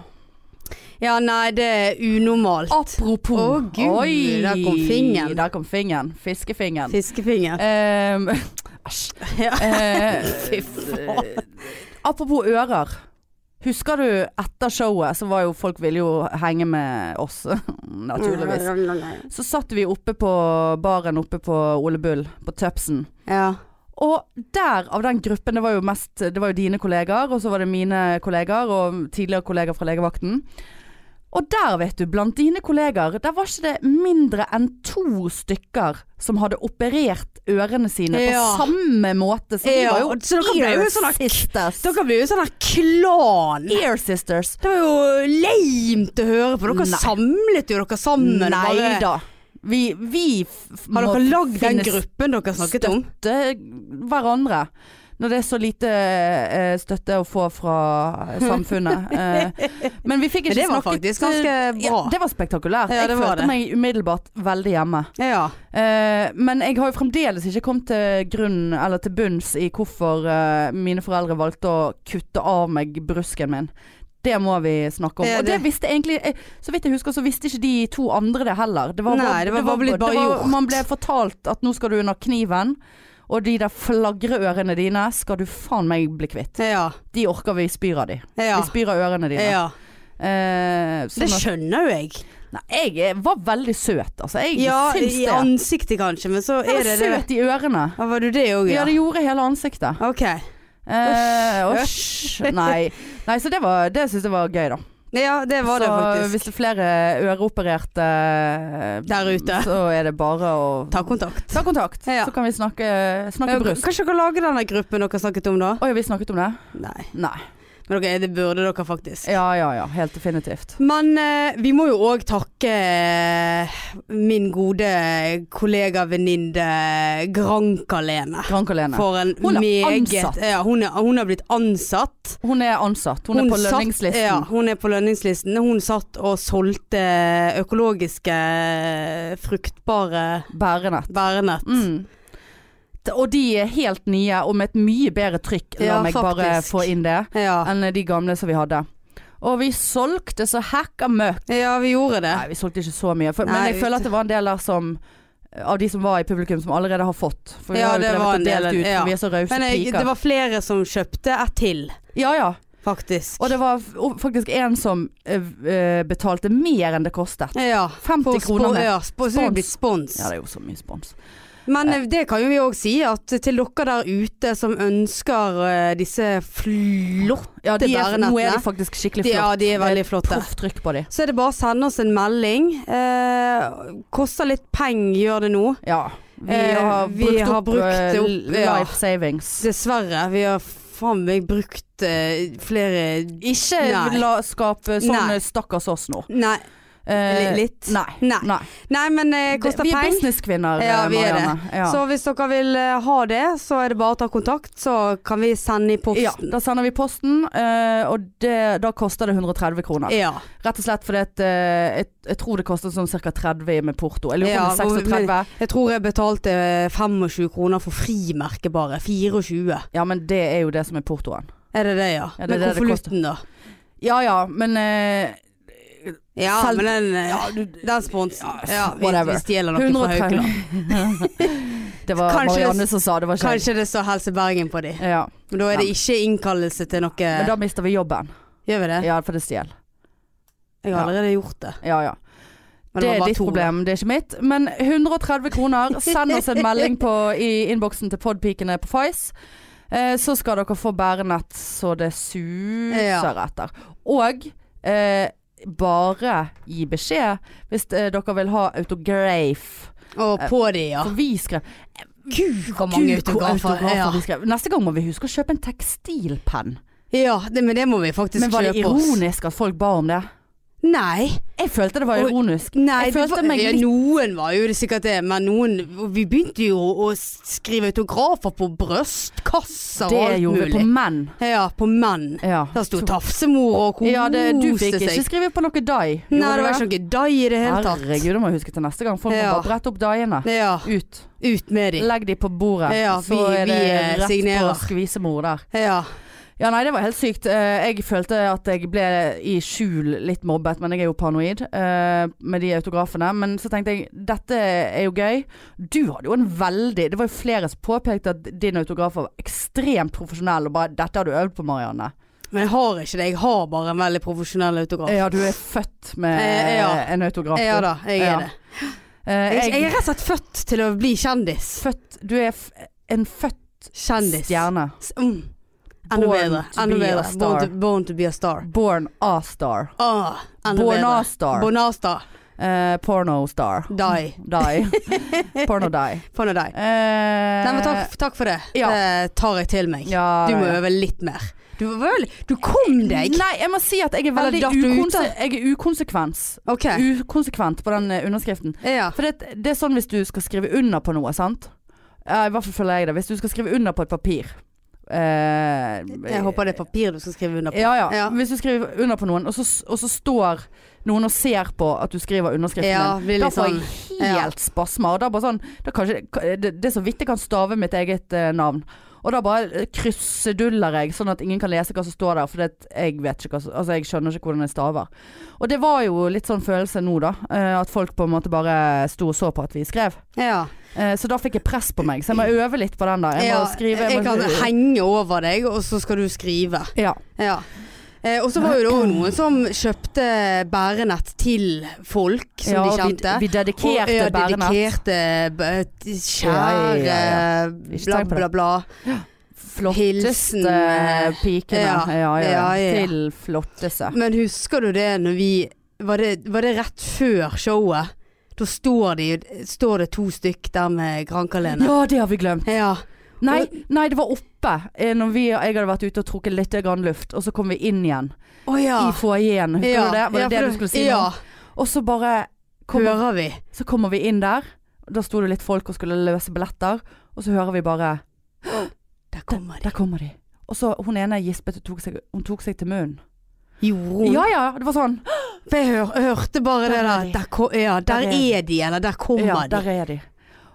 S1: Ja, nei, det er unormalt.
S2: Apropos
S1: Å, Gud, der kom fingeren.
S2: Der kom fingeren. Fiskefingeren.
S1: Fiskefinger.
S2: Ehm, Æsj.
S1: Ja.
S2: Eh,
S1: Fy faen.
S2: apropos ører. Husker du etter showet, så var jo folk ville jo henge med oss, naturligvis.
S1: Mm,
S2: Så satt vi oppe på baren oppe på Ole Bull, på Tøpsen.
S1: Ja.
S2: Og der, av den gruppen, det var jo mest Det var jo dine kollegaer, og så var det mine kollegaer, og tidligere kollegaer fra legevakten. Og der, vet du, blant dine kollegaer, der var ikke det mindre enn to stykker som hadde operert ørene sine
S1: Ja.
S2: på samme måte. Så vi
S1: Ja,
S2: var jo
S1: og så dere ble jo
S2: ear
S1: sånne-
S2: sisters.
S1: Dere blir jo sånn her klan.
S2: Ear sisters.
S1: Det var jo leimt å høre på. Dere
S2: Nei.
S1: samlet jo dere sammen.
S2: Nei
S1: bare-
S2: da. Vi, vi f-
S1: Har
S2: må
S1: dere lagd den
S2: finne
S1: gruppen dere snakket om?
S2: støtte hverandre. Når det er så lite eh, støtte å få fra samfunnet. Eh, men vi fikk
S1: Men
S2: ikke
S1: det var
S2: snakket
S1: faktisk ganske
S2: eh, Ja,
S1: bra.
S2: det var spektakulært.
S1: Ja, det
S2: jeg
S1: var
S2: følte
S1: det.
S2: meg umiddelbart veldig hjemme.
S1: Ja.
S2: Eh, men jeg har jo fremdeles ikke kommet til grunn eller til bunns i hvorfor eh, mine foreldre valgte å kutte av meg brusken min. Det må vi snakke om.
S1: Ja,
S2: Og det
S1: det-
S2: visste egentlig eh, Så vidt jeg husker, så visste ikke de to andre det heller. Det
S1: Nei, det var bare blitt bare gjort.
S2: Man ble fortalt at nå skal du under kniven, og de der flagreørene dine skal du faen meg bli kvitt.
S1: Ja.
S2: De orker vi spyr av de.
S1: Ja.
S2: Vi spyr av ørene dine.
S1: ja.
S2: Eh, sånn
S1: Det
S2: at-
S1: skjønner jo jeg.
S2: Nei, jeg er- var veldig søt, altså. Jeg
S1: Ja,
S2: syns
S1: i
S2: det.
S1: ansiktet kanskje, men så
S2: Jeg
S1: er
S2: var
S1: det det.
S2: søt i ørene.
S1: Ja, var du det òg,
S2: Ja,
S1: ja?
S2: det gjorde hele ansiktet.
S1: Ok.
S2: Eh,
S1: Øsj.
S2: Æsj. Nei. Nei, så det, var, det syns jeg var gøy, da.
S1: Ja, det var det
S2: så
S1: faktisk.
S2: hvis det er flere øreopererte eh,
S1: Der ute.
S2: så er det bare å
S1: Ta kontakt.
S2: ta kontakt.
S1: Ja.
S2: Så kan vi snakke, snakke
S1: Ja,
S2: bryst.
S1: Kanskje dere lager denne gruppen dere snakket om da?
S2: Å ja, vi snakket om det?
S1: Nei.
S2: Nei.
S1: Men dere, det burde dere faktisk.
S2: Ja ja ja, helt definitivt.
S1: Men eh, vi må jo òg takke eh, min gode kollega, venninne Granka-Lene.
S2: Grank-Alene.
S1: For en
S2: Hun er
S1: meget
S2: ansatt.
S1: Ja, hun, er, hun er blitt ansatt.
S2: Hun er ansatt. Hun, er på
S1: satt-
S2: lønningslisten.
S1: Ja, hun er på lønningslisten. Hun satt og solgte økologiske, eh, fruktbare
S2: Bærenett.
S1: bærenett.
S2: Mm. Og de er helt nye og med et mye bedre trykk, la
S1: Ja,
S2: meg bare
S1: faktisk.
S2: få inn det,
S1: Ja.
S2: enn de gamle som vi hadde. Og vi solgte så hekka møkk.
S1: ja, vi gjorde det.
S2: Nei, vi solgte ikke så mye. For, men
S1: Nei,
S2: jeg føler at det var en del der som eh, Av de som var i publikum som allerede har fått. For vi
S1: Ja,
S2: har jo
S1: det
S2: drevet
S1: var
S2: og
S1: en del,
S2: delt ut,
S1: ja.
S2: for vi er så rause
S1: Men jeg,
S2: piker.
S1: det var flere som kjøpte et til,
S2: Ja ja.
S1: faktisk.
S2: Og det var f- og faktisk en som eh, eh, betalte mer enn det kostet.
S1: ja.
S2: 50 kroner mer.
S1: ja, sp så det blir spons.
S2: Ja, det er jo så mye spons.
S1: Men eh, det kan jo vi òg si, at til dere der ute som ønsker eh, disse flotte
S2: Ja, de er, nå er de
S1: bærenettene
S2: faktisk skikkelig
S1: de, Ja,
S2: flotte.
S1: de er veldig flotte.
S2: Proff trykk på de.
S1: Så er det bare å sende oss en melding. Eh, koster litt penger, gjør det nå.
S2: Ja. Vi
S1: Eh,
S2: har
S1: vi
S2: brukt
S1: har
S2: opp,
S1: brukt
S2: eh,
S1: det opp,
S2: l-
S1: ja.
S2: life savings.
S1: Dessverre. Vi har faen meg brukt eh, flere
S2: Ikke
S1: Nei.
S2: Eh, la skape sånn
S1: Nei.
S2: eh, stakkars oss nå.
S1: Nei.
S2: Eh,
S1: Li- litt.
S2: Nei.
S1: Nei.
S2: Nei.
S1: Nei, men eh, koster
S2: vi er
S1: penger.
S2: businesskvinner,
S1: Ja,
S2: eh,
S1: vi er det.
S2: Marianne. Ja.
S1: Så hvis dere vil eh, ha det, så er det bare å ta kontakt, så kan vi sende i
S2: Ja,
S1: posten.
S2: da sender vi posten, eh, og det, da koster det 130 kroner.
S1: Ja.
S2: Rett og slett fordi at, eh, jeg, jeg tror det koster sånn ca. 30 med porto. Jeg lurer på
S1: Ja,
S2: om det er 36.
S1: Jeg tror jeg betalte 25 kroner for frimerke bare. 24.
S2: Ja, men det er jo det som er portoen.
S1: Er det det, ja?
S2: Ja, det er
S1: Med
S2: det det
S1: konvolutten, da.
S2: Ja ja, men eh,
S1: Ja,
S2: Selv-
S1: men den, eh,
S2: ja, du,
S1: den sponsen. Ja, vi,
S2: whatever.
S1: vi stjeler noe fra
S2: 130
S1: Haukeland.
S2: Det var
S1: Kanskje-
S2: Marianne som sa det, var ikke jeg.
S1: Kanskje det står Helse Bergen på de.
S2: Ja.
S1: Men da er det ikke innkallelse til noe
S2: Men da mister vi jobben.
S1: Gjør vi det?
S2: Ja, for det stjel.
S1: Jeg har allerede gjort det.
S2: Ja ja.
S1: Men
S2: Det
S1: var
S2: er
S1: bare
S2: ditt
S1: to.
S2: problem, det er ikke mitt. Men 130 kroner, send oss en melding på, i innboksen til podpikene på Fice. Eh, så skal dere få bærenett så det suser etter. Og eh, bare gi beskjed hvis eh, dere vil ha autograf.
S1: Og på de, ja.
S2: For vi skrev
S1: Ah. Gud, hvor
S2: Gud, hvor autografer
S1: Ja,
S2: vi skrev. Neste gang må vi huske å kjøpe en tekstilpenn.
S1: ja det, men det må vi faktisk
S2: Men var det
S1: kjøpe oss.
S2: ironisk at folk ba om det?
S1: Nei.
S2: Jeg følte det var
S1: Og-
S2: ironisk.
S1: Nei,
S2: Jeg
S1: det
S2: følte
S1: var-
S2: meg
S1: ja,
S2: litt-
S1: Noen var jo det sikkert det, men noen Vi begynte jo å å skrive autografer på brystkasser og
S2: Det
S1: alt
S2: gjorde vi
S1: mulig.
S2: på menn.
S1: Ja, på menn.
S2: Ja.
S1: Der sto tafsemor og koste
S2: Ja, det, du fikk ikke
S1: seg.
S2: skrive på noe dai.
S1: Nei, det var ikke noe dai i det hele tatt.
S2: Herregud, det må jeg huske til neste gang. Folk
S1: Ja.
S2: må bare brette opp daiene.
S1: Ja,
S2: Ut.
S1: ut med de.
S2: Legg de på bordet.
S1: Ja,
S2: så
S1: vi-
S2: er det
S1: vi, eh,
S2: rett
S1: signerer.
S2: på skvisemor der.
S1: Ja.
S2: Ja, nei, det var helt sykt. Eh, Jeg følte at jeg ble i skjul litt mobbet, men jeg er jo paranoid eh, med de autografene. Men så tenkte jeg, dette er jo gøy. Du hadde jo en veldig Det var jo flere som påpekte at din autograf var ekstremt profesjonell, og bare 'Dette har du øvd på, Marianne'.
S1: Men jeg har ikke det. Jeg har bare en veldig profesjonell autograf.
S2: Ja, du er født med
S1: Eh, ja.
S2: en autograf. du.
S1: Ja da, jeg er
S2: Ja.
S1: det.
S2: Eh,
S1: Jeg, jeg
S2: jeg,
S1: er rett og slett født til å bli kjendis.
S2: født, du er f en født
S1: Kjendis.
S2: stjerne.
S1: S- Mm. Enda
S2: Born
S1: bedre.
S2: to
S1: Enda
S2: be a
S1: bedre. Born
S2: star.
S1: to, born to be a star.
S2: Born A-star.
S1: Ah, enda
S2: Born
S1: bedre.
S2: A-star.
S1: Bonasta.
S2: Eh, Porno-star.
S1: Die.
S2: Die. Porno-die.
S1: Få nå deg.
S2: Eh,
S1: Nei, men takk, takk for det.
S2: ja.
S1: Det tar jeg til meg.
S2: ja,
S1: Du må
S2: ja.
S1: øve litt mer. Du, var vel, du kom deg!
S2: Nei, jeg må si at jeg er
S1: Eller
S2: veldig
S1: datt du ut,
S2: ukonse jeg er ukonsekvens.
S1: OK.
S2: ukonsekvent på den eh, underskriften.
S1: Ja.
S2: For det, det er sånn hvis du skal skrive under på noe, sant? Ja, I hvert fall føler jeg det. Hvis du skal skrive under på et papir eh,
S1: Jeg håper det er papir du skal skrive under på.
S2: Ja, ja.
S1: Ja.
S2: Hvis du skriver under på noen, og så, og så står noen og ser på at du skriver underskriften
S1: Ja, blir
S2: din, da
S1: litt
S2: får
S1: sånn
S2: jeg helt spasmer. Og da bare sånn, da kanskje, det, det er så vidt jeg kan stave mitt eget eh, navn. Og da bare krysseduller jeg, sånn at ingen kan lese hva som står der. For det, jeg, vet ikke hva, som- altså, jeg skjønner ikke hvordan jeg staver. Og det var jo litt sånn følelse nå, da. eh, At folk på en måte bare sto og så på at vi skrev.
S1: Ja.
S2: Eh, Så da fikk jeg press på meg. Så jeg må øve litt på den der. Jeg må
S1: Ja,
S2: skrive
S1: jeg kan
S2: må-
S1: henge over deg, og så skal du skrive.
S2: ja.
S1: Ja. Eh, og så var jo det òg noen som kjøpte bærenett til folk som
S2: ja,
S1: de
S2: og
S1: kjente.
S2: Vi, vi dedikerte
S1: og, ja,
S2: bærenett.
S1: dedikerte b- t-
S2: Ja,
S1: Kjære
S2: ja, ja. Ikke
S1: bla,
S2: tenk på
S1: bla,
S2: det.
S1: bla. Hilsen,
S2: Flotteste
S1: eh,
S2: pikene. Ja.
S1: ja,
S2: Ja, ja,
S1: ja, ja.
S2: Til flotteste.
S1: Men husker du det når vi Var det, var det rett før showet? Da står, de, står det to stykk der med Grankalene.
S2: Ja, det har vi glemt.
S1: Ja.
S2: Nei, nei det var oppe. eh, Når vi, jeg hadde vært ute og trukket litt grann luft, og så kom vi inn igjen.
S1: Å ja.
S2: I foajeen. Husker
S1: ja.
S2: du det? Var det
S1: ja, for
S2: det du skulle si? nå?
S1: Ja.
S2: Og så bare kommer,
S1: Hører vi?
S2: Så kommer vi inn der. Da sto det litt folk og skulle løse billetter. Og så hører vi bare
S1: Der kommer de.
S2: Der kommer de. Og så hun ene gispet og tok seg, hun tok seg til munnen.
S1: Gjorde hun
S2: Ja ja, det var sånn.
S1: For jeg hør, hørte bare
S2: Der
S1: det
S2: er
S1: der.
S2: de.
S1: Der, ko- ja, der,
S2: Der er de.
S1: er de, eller der kommer
S2: Ja,
S1: de.
S2: der er de.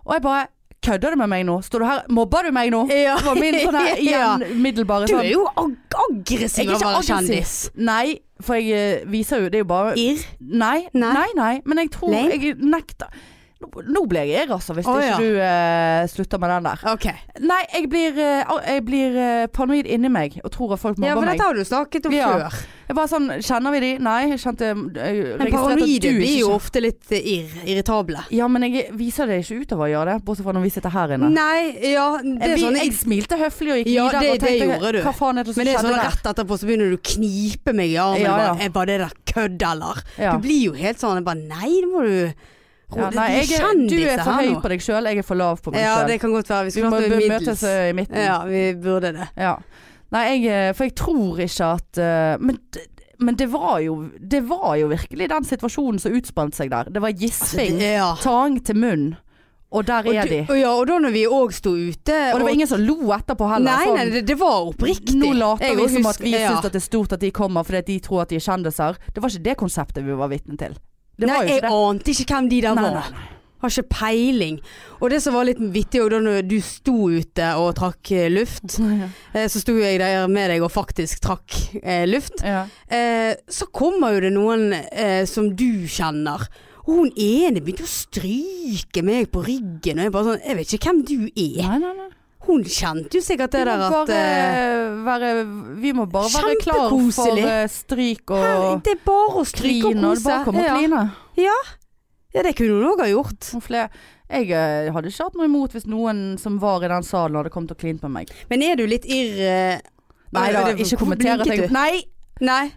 S2: Og jeg bare Kødder du med meg nå? Står du her Mobber du meg nå?
S1: Ja.
S2: Det var min sånn her igjen middelbare
S1: Du er
S2: sånn.
S1: jo ag aggressiv av å
S2: Jeg er ikke
S1: være
S2: aggressiv.
S1: kjendis.
S2: Nei, for jeg eh, viser jo Det er jo bare
S1: Irr.
S2: Nei,
S1: Nei.
S2: nei, nei, men jeg tror
S1: Lame.
S2: Jeg nekter Nå, nå blir jeg irr, altså, hvis
S1: Å, ja.
S2: ikke du eh, slutter med den der.
S1: Ok.
S2: Nei, jeg blir, eh, au- jeg blir eh, paranoid inni meg og tror at folk
S1: Ja,
S2: mobber
S1: for
S2: meg.
S1: dette har du snakket om
S2: Ja.
S1: før.
S2: Jeg bare sånn Kjenner vi de? Nei, jeg kjente eh, jeg
S1: Men
S2: registrerte at du
S1: paranoide
S2: ikke
S1: blir jo
S2: kjenner-
S1: ofte litt eh, irr, irritable.
S2: Ja, men jeg viser det ikke utover å gjøre det, bortsett fra når vi sitter her inne.
S1: Nei, ja, det er
S2: vi,
S1: sånn
S2: jeg smilte høflig og gikk
S1: Ja,
S2: videre
S1: det-
S2: og tenkte
S1: det gjorde du.
S2: hva faen er det som
S1: Men det er
S2: skjedde
S1: sånn
S2: der?
S1: rett etterpå så begynner du å knipe meg i armen.
S2: Ja,
S1: og
S2: ja.
S1: Bare, er bare det der kødd, eller?
S2: Ja.
S1: Du blir jo helt sånn jeg bare Nei, det må du
S2: Ja, nei,
S1: Du
S2: jeg,
S1: er
S2: er- du
S1: kjendis
S2: er for
S1: her
S2: høy
S1: nå.
S2: på deg sjøl, jeg er for lav på meg
S1: Ja,
S2: sjøl.
S1: det kan godt være. Vi
S2: Vi
S1: skulle
S2: må
S1: hatt
S2: bø-
S1: noe
S2: møtes
S1: middels.
S2: eh, i midten.
S1: Ja, vi burde det.
S2: Ja. Nei, jeg, eh, for jeg tror ikke at eh, Men, d- men det, var jo, det var jo virkelig den situasjonen som utspant seg der. Det var gisping,
S1: Ja.
S2: tang til munn, og der
S1: Altså, Og,
S2: er
S1: du,
S2: de.
S1: og ja, og da når vi òg sto ute
S2: Og det var ingen som lo etterpå heller.
S1: Nei,
S2: sånn,
S1: nei, det, det var oppriktig.
S2: Nå later
S1: Jeg
S2: vi som at
S1: husker-
S2: vi
S1: ja.
S2: syns at det er stort at de kommer fordi at de tror at de er kjendiser. Det var ikke det konseptet vi var vitne til. Det
S1: Nei,
S2: var jo
S1: jeg
S2: ikke det.
S1: ante ikke hvem de der
S2: Nei,
S1: var. Har ikke peiling. Og det som var litt vittig òg, da når du sto ute og trakk eh, luft,
S2: nei.
S1: eh, så sto jeg der med deg og faktisk trakk eh, luft,
S2: Ja.
S1: eh, så kommer jo det noen eh, som du kjenner. Og hun ene begynte å stryke meg på ryggen, og jeg bare sånn Jeg vet ikke hvem du er.
S2: Nei, nei, nei.
S1: Hun kjente jo sikkert det
S2: Vi
S1: der
S2: må
S1: at
S2: bare
S1: eh,
S2: være Vi må bare være klar for
S1: Kjempekoselig.
S2: eh, stryk
S1: her,
S2: og
S1: Det er bare å stryke og
S2: klin. Og
S1: kose.
S2: det bare kommer
S1: Ja.
S2: kline.
S1: ja, det kunne hun òg ha gjort.
S2: Og fle- Jeg eh, hadde ikke hatt noe imot hvis noen som var i den salen hadde kommet og klint på meg.
S1: Men er du litt irr... eh,
S2: Nei da,
S1: det-
S2: ikke
S1: hvorfor
S2: kommenter at
S1: blinket
S2: jeg
S1: du?
S2: Nei,
S1: Nei.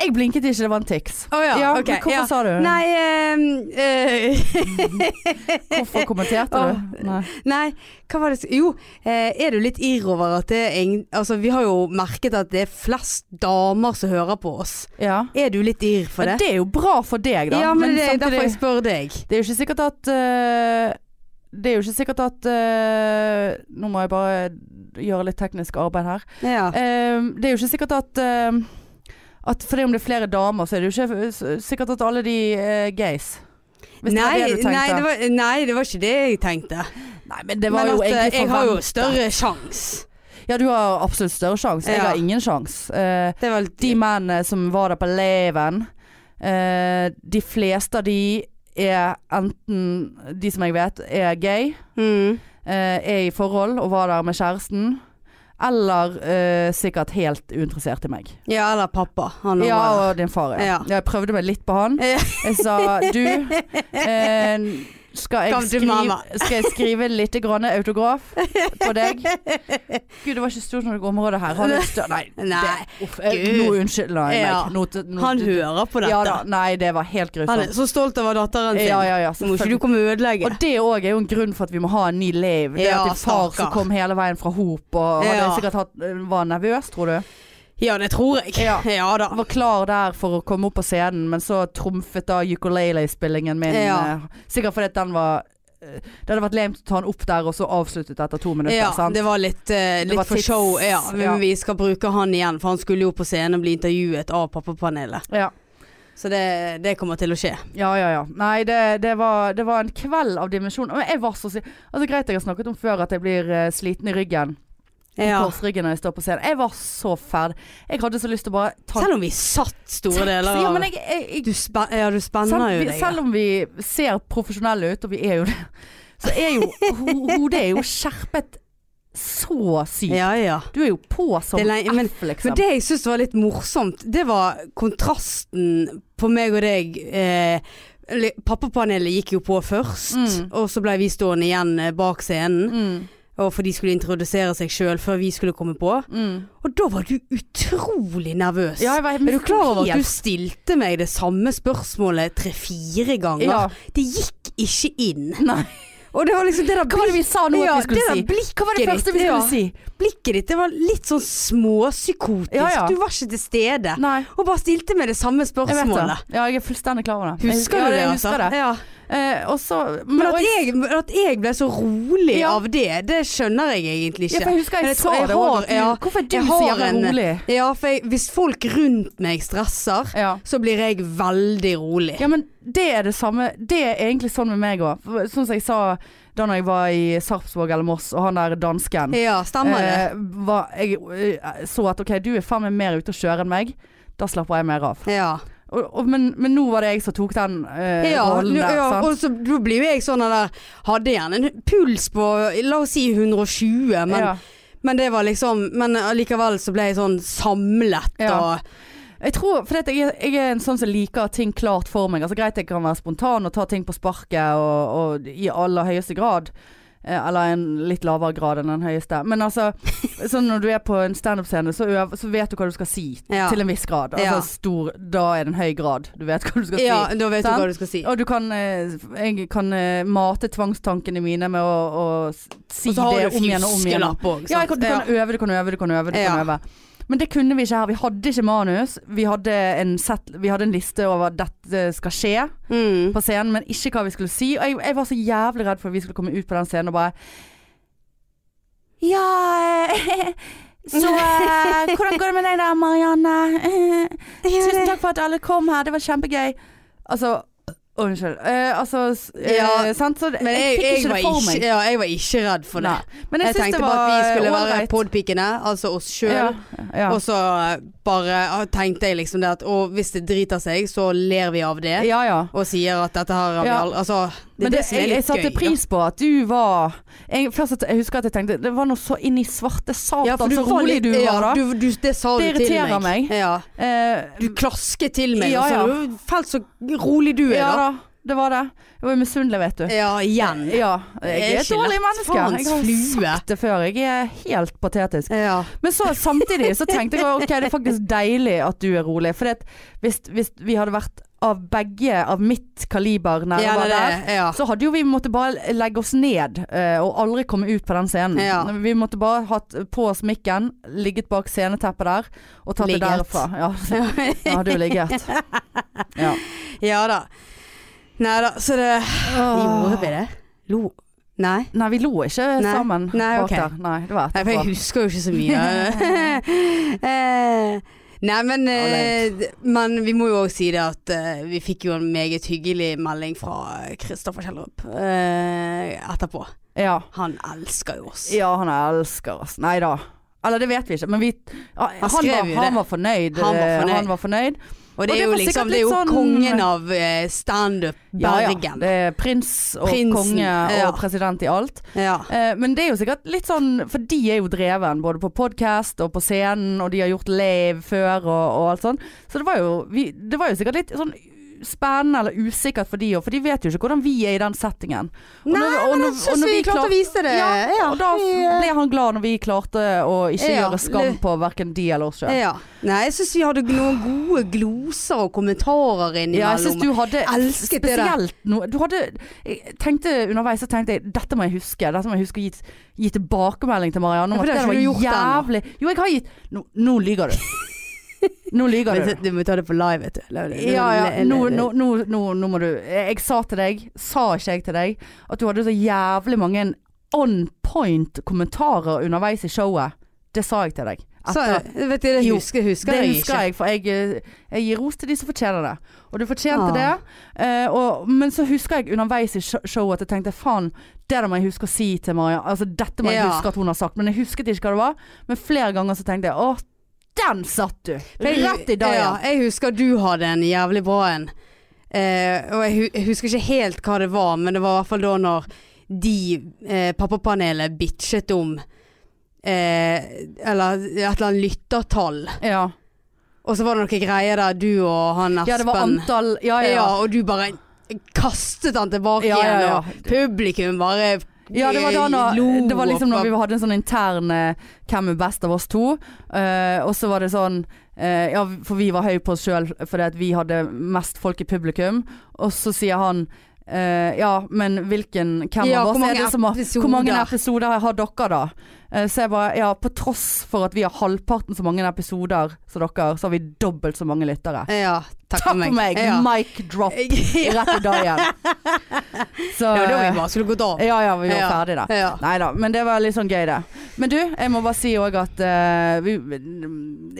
S2: jeg blinket ikke, det var en tics.
S1: Å ja,
S2: Ja,
S1: ok.
S2: men hvorfor
S1: ja.
S2: sa du det?
S1: Nei, ehm, eh,
S2: Hvorfor kommenterte du?
S1: Åh.
S2: Nei.
S1: nei, hva var det s- Jo, eh, er du litt irr over at det er ingen- Altså, vi har jo merket at det er flest damer som hører på oss.
S2: Ja.
S1: Er du litt irr for
S2: Men
S1: det?
S2: det er jo bra for deg, da.
S1: Ja, men, det er
S2: samtidig-
S1: derfor jeg spør deg.
S2: Det er jo ikke sikkert at eh, Det er jo ikke sikkert at eh, Nå må jeg bare gjøre litt teknisk arbeid her.
S1: Ja.
S2: Eh, det er jo ikke sikkert at eh, at fordi om det er flere damer, så er det jo ikke s- sikkert at alle de uh, gays. Hvis det var
S1: nei,
S2: det du tenkte.
S1: nei, det var, nei, det var ikke det jeg tenkte.
S2: Nei, men det var
S1: men
S2: jo
S1: at eh,
S2: egentlig
S1: jeg har jo
S2: forventet.
S1: større sjanse.
S2: Ja, du har absolutt større sjanse. Jeg
S1: Ja.
S2: har ingen sjanse. Eh,
S1: Det var
S2: de mennene som var der på Leven, eh, de fleste av de er enten De som jeg vet, er gay,
S1: mm.
S2: eh, er i forhold og var der med kjæresten. Eller eh, sikkert helt uinteressert i meg.
S1: Ja, eller pappa. Han
S2: Ja,
S1: var der.
S2: og din far, ja.
S1: Ja.
S2: Jeg prøvde meg litt på han.
S1: Ja.
S2: Jeg sa du eh, skal, jeg
S1: Kom til
S2: skrive,
S1: mamma."
S2: skal jeg skrive litt grann autograf på deg? Gud, det var ikke stort nok område her. Har du stør... Nei.
S1: Nei,
S2: det- Uff, eh,
S1: Gud.
S2: nå unnskylder jeg meg.
S1: Ja.
S2: Nå, nå,
S1: Han hører på dette.
S2: ja, da, Nei, det var helt
S1: Han er
S2: grusomt.
S1: så stolt over datteren sin.
S2: Ja, ja, ja,
S1: Nå må ikke du komme og ødelegge.
S2: og det òg er jo en grunn for at vi må ha en ny leiv. Det
S1: Ja,
S2: at din far
S1: stakkar.
S2: som kom hele veien fra Hop og hadde
S1: Ja.
S2: sikkert hatt, var nervøs, tror du.
S1: Ja, det tror jeg.
S2: Ja.
S1: da.
S2: var klar der for å komme opp på scenen, men så trumfet da ukulele-spillingen min.
S1: Ja.
S2: eh, Sikkert fordi at den var eh, Det hadde vært lemt å ta den opp der, og så avsluttet etter to minutter.
S1: Ja,
S2: sant?
S1: det var litt, eh, litt
S2: var
S1: for
S2: tids-
S1: show. Ja, men
S2: ja.
S1: vi skal bruke han igjen, for han skulle jo på scenen og bli intervjuet av pappapanelet.
S2: Ja.
S1: Så det, det kommer til å skje.
S2: ja, ja, ja. Nei, det, det, var, det var en kveld av dimensjoner. Men jeg var så si- Altså Greit jeg har snakket om før at jeg blir eh, sliten i ryggen. ja.
S1: Ja.
S2: korsryggen når jeg står på scenen. Jeg var så ferdig. Jeg hadde så lyst til å bare ta
S1: Selv om vi satt store deler av
S2: Ja, men jeg, jeg, jeg
S1: du, spen ja, du spenner
S2: selv,
S1: jo
S2: vi,
S1: deg. ja.
S2: selv om vi ser profesjonelle ut, og vi er jo det, så er jo ho hodet er jo skjerpet så sykt.
S1: Ja, ja.
S2: Du er jo på som
S1: Det er lei- men-
S2: F, liksom.
S1: Men det jeg syns var litt morsomt, det var kontrasten på meg og deg. Eh, li- Pappapanelet gikk jo på først,
S2: Mm.
S1: og så ble vi stående igjen eh, bak scenen.
S2: mm,
S1: Og for de skulle introdusere seg sjøl før vi skulle komme på.
S2: mm.
S1: Og da var du utrolig nervøs.
S2: Ja, jeg var
S1: er du klar over at
S2: helt-
S1: du stilte meg det samme spørsmålet tre-fire ganger?
S2: ja.
S1: Det gikk ikke inn.
S2: Nei.
S1: Og det var liksom det der
S2: Hva var det vi sa nå
S1: Ja,
S2: at vi skulle
S1: det
S2: si?
S1: der blikket
S2: Hva var det
S1: ditt,
S2: første vi skulle
S1: ja.
S2: si?
S1: Blikket ditt det var litt sånn småpsykotisk.
S2: Ja, ja.
S1: Du var ikke til stede.
S2: Nei,
S1: Og bare stilte meg det samme
S2: jeg vet det.
S1: spørsmålet.
S2: Ja, jeg er fullstendig klar over det. Jeg-
S1: Husker
S2: ja,
S1: du det,
S2: jeg
S1: altså?
S2: husker det.
S1: Ja.
S2: Eh, og så
S1: Men
S2: og
S1: at jeg, at jeg ble så rolig
S2: Ja.
S1: av det, det skjønner jeg egentlig
S2: Ja, for
S1: ikke.
S2: jeg husker jeg,
S1: Men jeg
S2: sa
S1: tror jeg
S2: det også, at
S1: har- ja,
S2: du- Hvorfor er du
S1: jeg
S2: så
S1: har
S2: jævla
S1: en-
S2: rolig?
S1: Ja, for jeg, hvis folk rundt meg stresser,
S2: Ja.
S1: så blir jeg veldig rolig.
S2: ja, men det er det samme Det er egentlig sånn med meg òg. Sånn som jeg sa da når jeg var i Sarpsborg eller Moss, og han der dansken
S1: Ja, stemmer det.
S2: eh, var, Jeg eh, så at OK, du er faen meg mer ute å kjøre enn meg. Da slapper jeg mer av.
S1: Ja.
S2: Og, og, men, men nå var det jeg som tok den eh,
S1: ja,
S2: rollen der.
S1: ja
S2: sant?
S1: og så da blir jo jeg sånn der Hadde gjerne en puls på la oss si 120, men,
S2: ja.
S1: men det var liksom Men allikevel så ble jeg sånn samlet
S2: Ja.
S1: og
S2: Jeg tror, for jeg, er- jeg er en sånn som liker ting klart for meg. Altså Greit jeg kan være spontan og ta ting på sparket og, og i aller høyeste grad. Eh, Eller en litt lavere grad enn den høyeste. Men altså, sånn når du er på en standup-scene, så, øv- så vet du hva du skal si.
S1: Ja.
S2: Til en viss grad. Altså
S1: Ja.
S2: stor Da er det en høy grad. Du vet hva du skal
S1: Ja,
S2: si.
S1: da vet
S2: Sant?
S1: du hva du skal si.
S2: Og du kan eh, Jeg kan eh, mate tvangstankene mine med å, å s- si
S1: Og så har
S2: det
S1: du
S2: om igjen og om igjen.
S1: fjuskelapp òg.
S2: Ja, jeg kan, du kan øve, du kan øve, du kan øve. Du
S1: Ja.
S2: kan øve. Men det kunne vi ikke her. Vi hadde ikke manus. Vi hadde en, set, vi hadde en liste over dette skal skje
S1: Mm.
S2: på scenen, men ikke hva vi skulle si. Og jeg, jeg var så jævlig redd for at vi skulle komme ut på den scenen og bare Ja eh, Så eh, hvordan går det med deg der, Marianne? Eh, Tusen takk for at alle kom her. Det var kjempegøy. Altså å, Unnskyld. Eh, altså s- eh,
S1: Ja,
S2: Sant? Så
S1: Men jeg,
S2: fikk
S1: jeg,
S2: ikke
S1: var
S2: det for
S1: ikke,
S2: meg.
S1: ja, jeg var ikke redd for det.
S2: Nei. Men jeg,
S1: Jeg,
S2: syns
S1: tenkte
S2: det
S1: bare
S2: var
S1: at vi skulle være
S2: ålreit.
S1: podpikene, altså oss sjøl.
S2: Ja, ja.
S1: Og så eh, bare ah, tenkte jeg liksom det at å, hvis det driter seg, så ler vi av det.
S2: Ja, ja.
S1: Og sier at dette her har vi
S2: Ja.
S1: aldri Altså, det
S2: Men
S1: er
S2: det,
S1: det som er
S2: jeg, jeg
S1: litt gøy.
S2: satte pris på at du var jeg, Først at jeg husker at jeg tenkte Det var noe så inn i svarte satan
S1: Ja, for du
S2: Så
S1: var
S2: rolig
S1: litt-
S2: du
S1: ja,
S2: var da
S1: Du, du, det sa
S2: Det
S1: du til meg.
S2: irriterer meg.
S1: Ja.
S2: eh,
S1: Du klasket til meg
S2: Ja,
S1: og sa du Felt så rolig du er,
S2: Ja
S1: da.
S2: da, det var det Jeg var misunnelig vet du
S1: Ja, igjen.
S2: ja, jeg er et
S1: ikke
S2: dårlig
S1: lett
S2: menneske
S1: faens
S2: Jeg har
S1: flue.
S2: sagt det før, jeg er helt patetisk
S1: Ja.
S2: Men så samtidig så tenkte jeg Ok, det er faktisk deilig at du er rolig For hvis, hvis vi hadde vært av begge Av mitt kaliber
S1: Ja,
S2: nærmere
S1: det,
S2: der
S1: det, ja.
S2: Så hadde jo vi måttet bare legge oss ned eh, og aldri komme ut på den scenen.
S1: Ja.
S2: Vi måtte bare hatt på oss mikken, ligget bak sceneteppet der og tatt det
S1: Ligget.
S2: derfra. Ja, ja du ligget. Ja.
S1: ja da. Nei da, så det Gjorde vi det? Lo Nei.
S2: Nei, vi lo ikke
S1: Nei.
S2: sammen
S1: Nei, ok.
S2: bak der. Nei, det var
S1: Nei, for
S2: etterpå.
S1: jeg husker jo ikke så mye. Eh, Nei, men, eh, men vi må jo òg si det at eh, vi fikk jo en meget hyggelig melding fra Kristoffer Kjellerup eh, etterpå.
S2: Ja.
S1: Han elsker jo oss.
S2: ja, han elsker oss. Nei da. Eller det vet vi ikke, men vi ja, han,
S1: skrev
S2: var,
S1: jo det.
S2: han var fornøyd.
S1: Han var
S2: eh,
S1: fornøyd.
S2: Han var fornøyd.
S1: Og det
S2: Og det
S1: er jo
S2: var sikkert
S1: liksom Det er
S2: litt
S1: jo
S2: sånn-
S1: kongen av eh, standup
S2: Ja, ja.
S1: Bergen.
S2: Det er prins og
S1: Prinsen,
S2: konge og
S1: ja.
S2: president i alt.
S1: Ja.
S2: Eh, Men det er jo sikkert litt sånn For de er jo dreven både på podcast og på scenen, og de har gjort live før og, og alt sånn. Så det var, jo, vi, det var jo sikkert litt sånn spennende eller usikkert for de òg, for de vet jo ikke hvordan vi er i den settingen. Og
S1: Nei,
S2: når- og
S1: men
S2: når-
S1: jeg
S2: og
S1: syns
S2: når
S1: vi
S2: vi
S1: klarte
S2: klar-
S1: å vise det.
S2: Ja, og da
S1: vi- eh,
S2: ble han glad når vi klarte å ikke
S1: Ja,
S2: gjøre skam
S1: det-
S2: på hverken de eller oss sjøl.
S1: ja. Nei, jeg syns vi hadde noen gode gloser og kommentarer
S2: Ja, jeg
S1: innimellom.
S2: syns du hadde
S1: Elsket det der.
S2: spesielt noe Du hadde jeg tenkte Underveis så tenkte jeg dette må jeg huske. Dette må jeg huske å gi, gi tilbakemelding til Marianne
S1: Ja, for
S2: om at
S1: det
S2: det
S1: har
S2: var
S1: ikke du gjort
S2: jævlig Jo, jeg har gitt Nå, nå lyver du. Nå lyver
S1: men,
S2: du.
S1: du må ta det på live, vet du. La- la-
S2: Ja, ja.
S1: la- la-
S2: Nå, nå, nå, nå, nå må du Jeg sa til deg, sa ikke jeg til deg, at du hadde så jævlig mange on point kommentarer underveis i showet. Det sa jeg til deg.
S1: Så,
S2: etter
S1: vet du, det
S2: Jo,
S1: husker, husker
S2: det
S1: jeg
S2: husker
S1: ikke.
S2: jeg, for jeg, eh, jeg gir ros til de som fortjener det. Og du fortjente
S1: Ah.
S2: det. eh, og, men så husker jeg underveis i sho- showet at jeg tenkte faen, det der må jeg huske å si til Maja. Altså dette må jeg
S1: Ja.
S2: huske at hun har sagt. Men jeg husket ikke hva det var. Men flere ganger så tenkte jeg å, den satt du!
S1: For jeg-
S2: Rett i dag,
S1: ja.
S2: ja.
S1: Jeg husker du hadde en jævlig bra en. Eh, og jeg, hu- jeg husker ikke helt hva det var, men det var i hvert fall da når de, eh, pappapanelet, bitchet om eh, Eller et eller annet lyttertall.
S2: ja.
S1: Og så var det noen greier der du og han Espen
S2: Ja, det var antall Ja, ja.
S1: ja,
S2: ja.
S1: og du bare kastet han tilbake
S2: Ja, ja, ja.
S1: igjen, og publikum bare
S2: Ja, det var da
S1: lo
S2: når, det var liksom
S1: og-
S2: når vi hadde en sånn intern eh, 'Hvem er best av oss to?' eh, og så var det sånn eh, Ja, for vi var høy på oss sjøl fordi at vi hadde mest folk i publikum. Og så sier han eh, ja, men hvilken Hvem
S1: Ja,
S2: av
S1: hvor
S2: oss er
S1: mange
S2: det som har
S1: episoder?»
S2: Hvor mange episoder har dere, da? Eh, så jeg bare Ja, på tross for at vi har halvparten så mange episoder som dere, så har vi dobbelt så mange lyttere.
S1: Ja, takk,
S2: Takk for meg!
S1: Ja.
S2: Mic drop
S1: ja,
S2: rett i dag igjen. Så
S1: det var da vi bare skulle gått av.
S2: Ja ja, vi var
S1: Ja.
S2: ferdig da.
S1: Eh, Ja.
S2: Nei da, men det var litt sånn gøy det. Men du, jeg må bare si òg at eh, vi,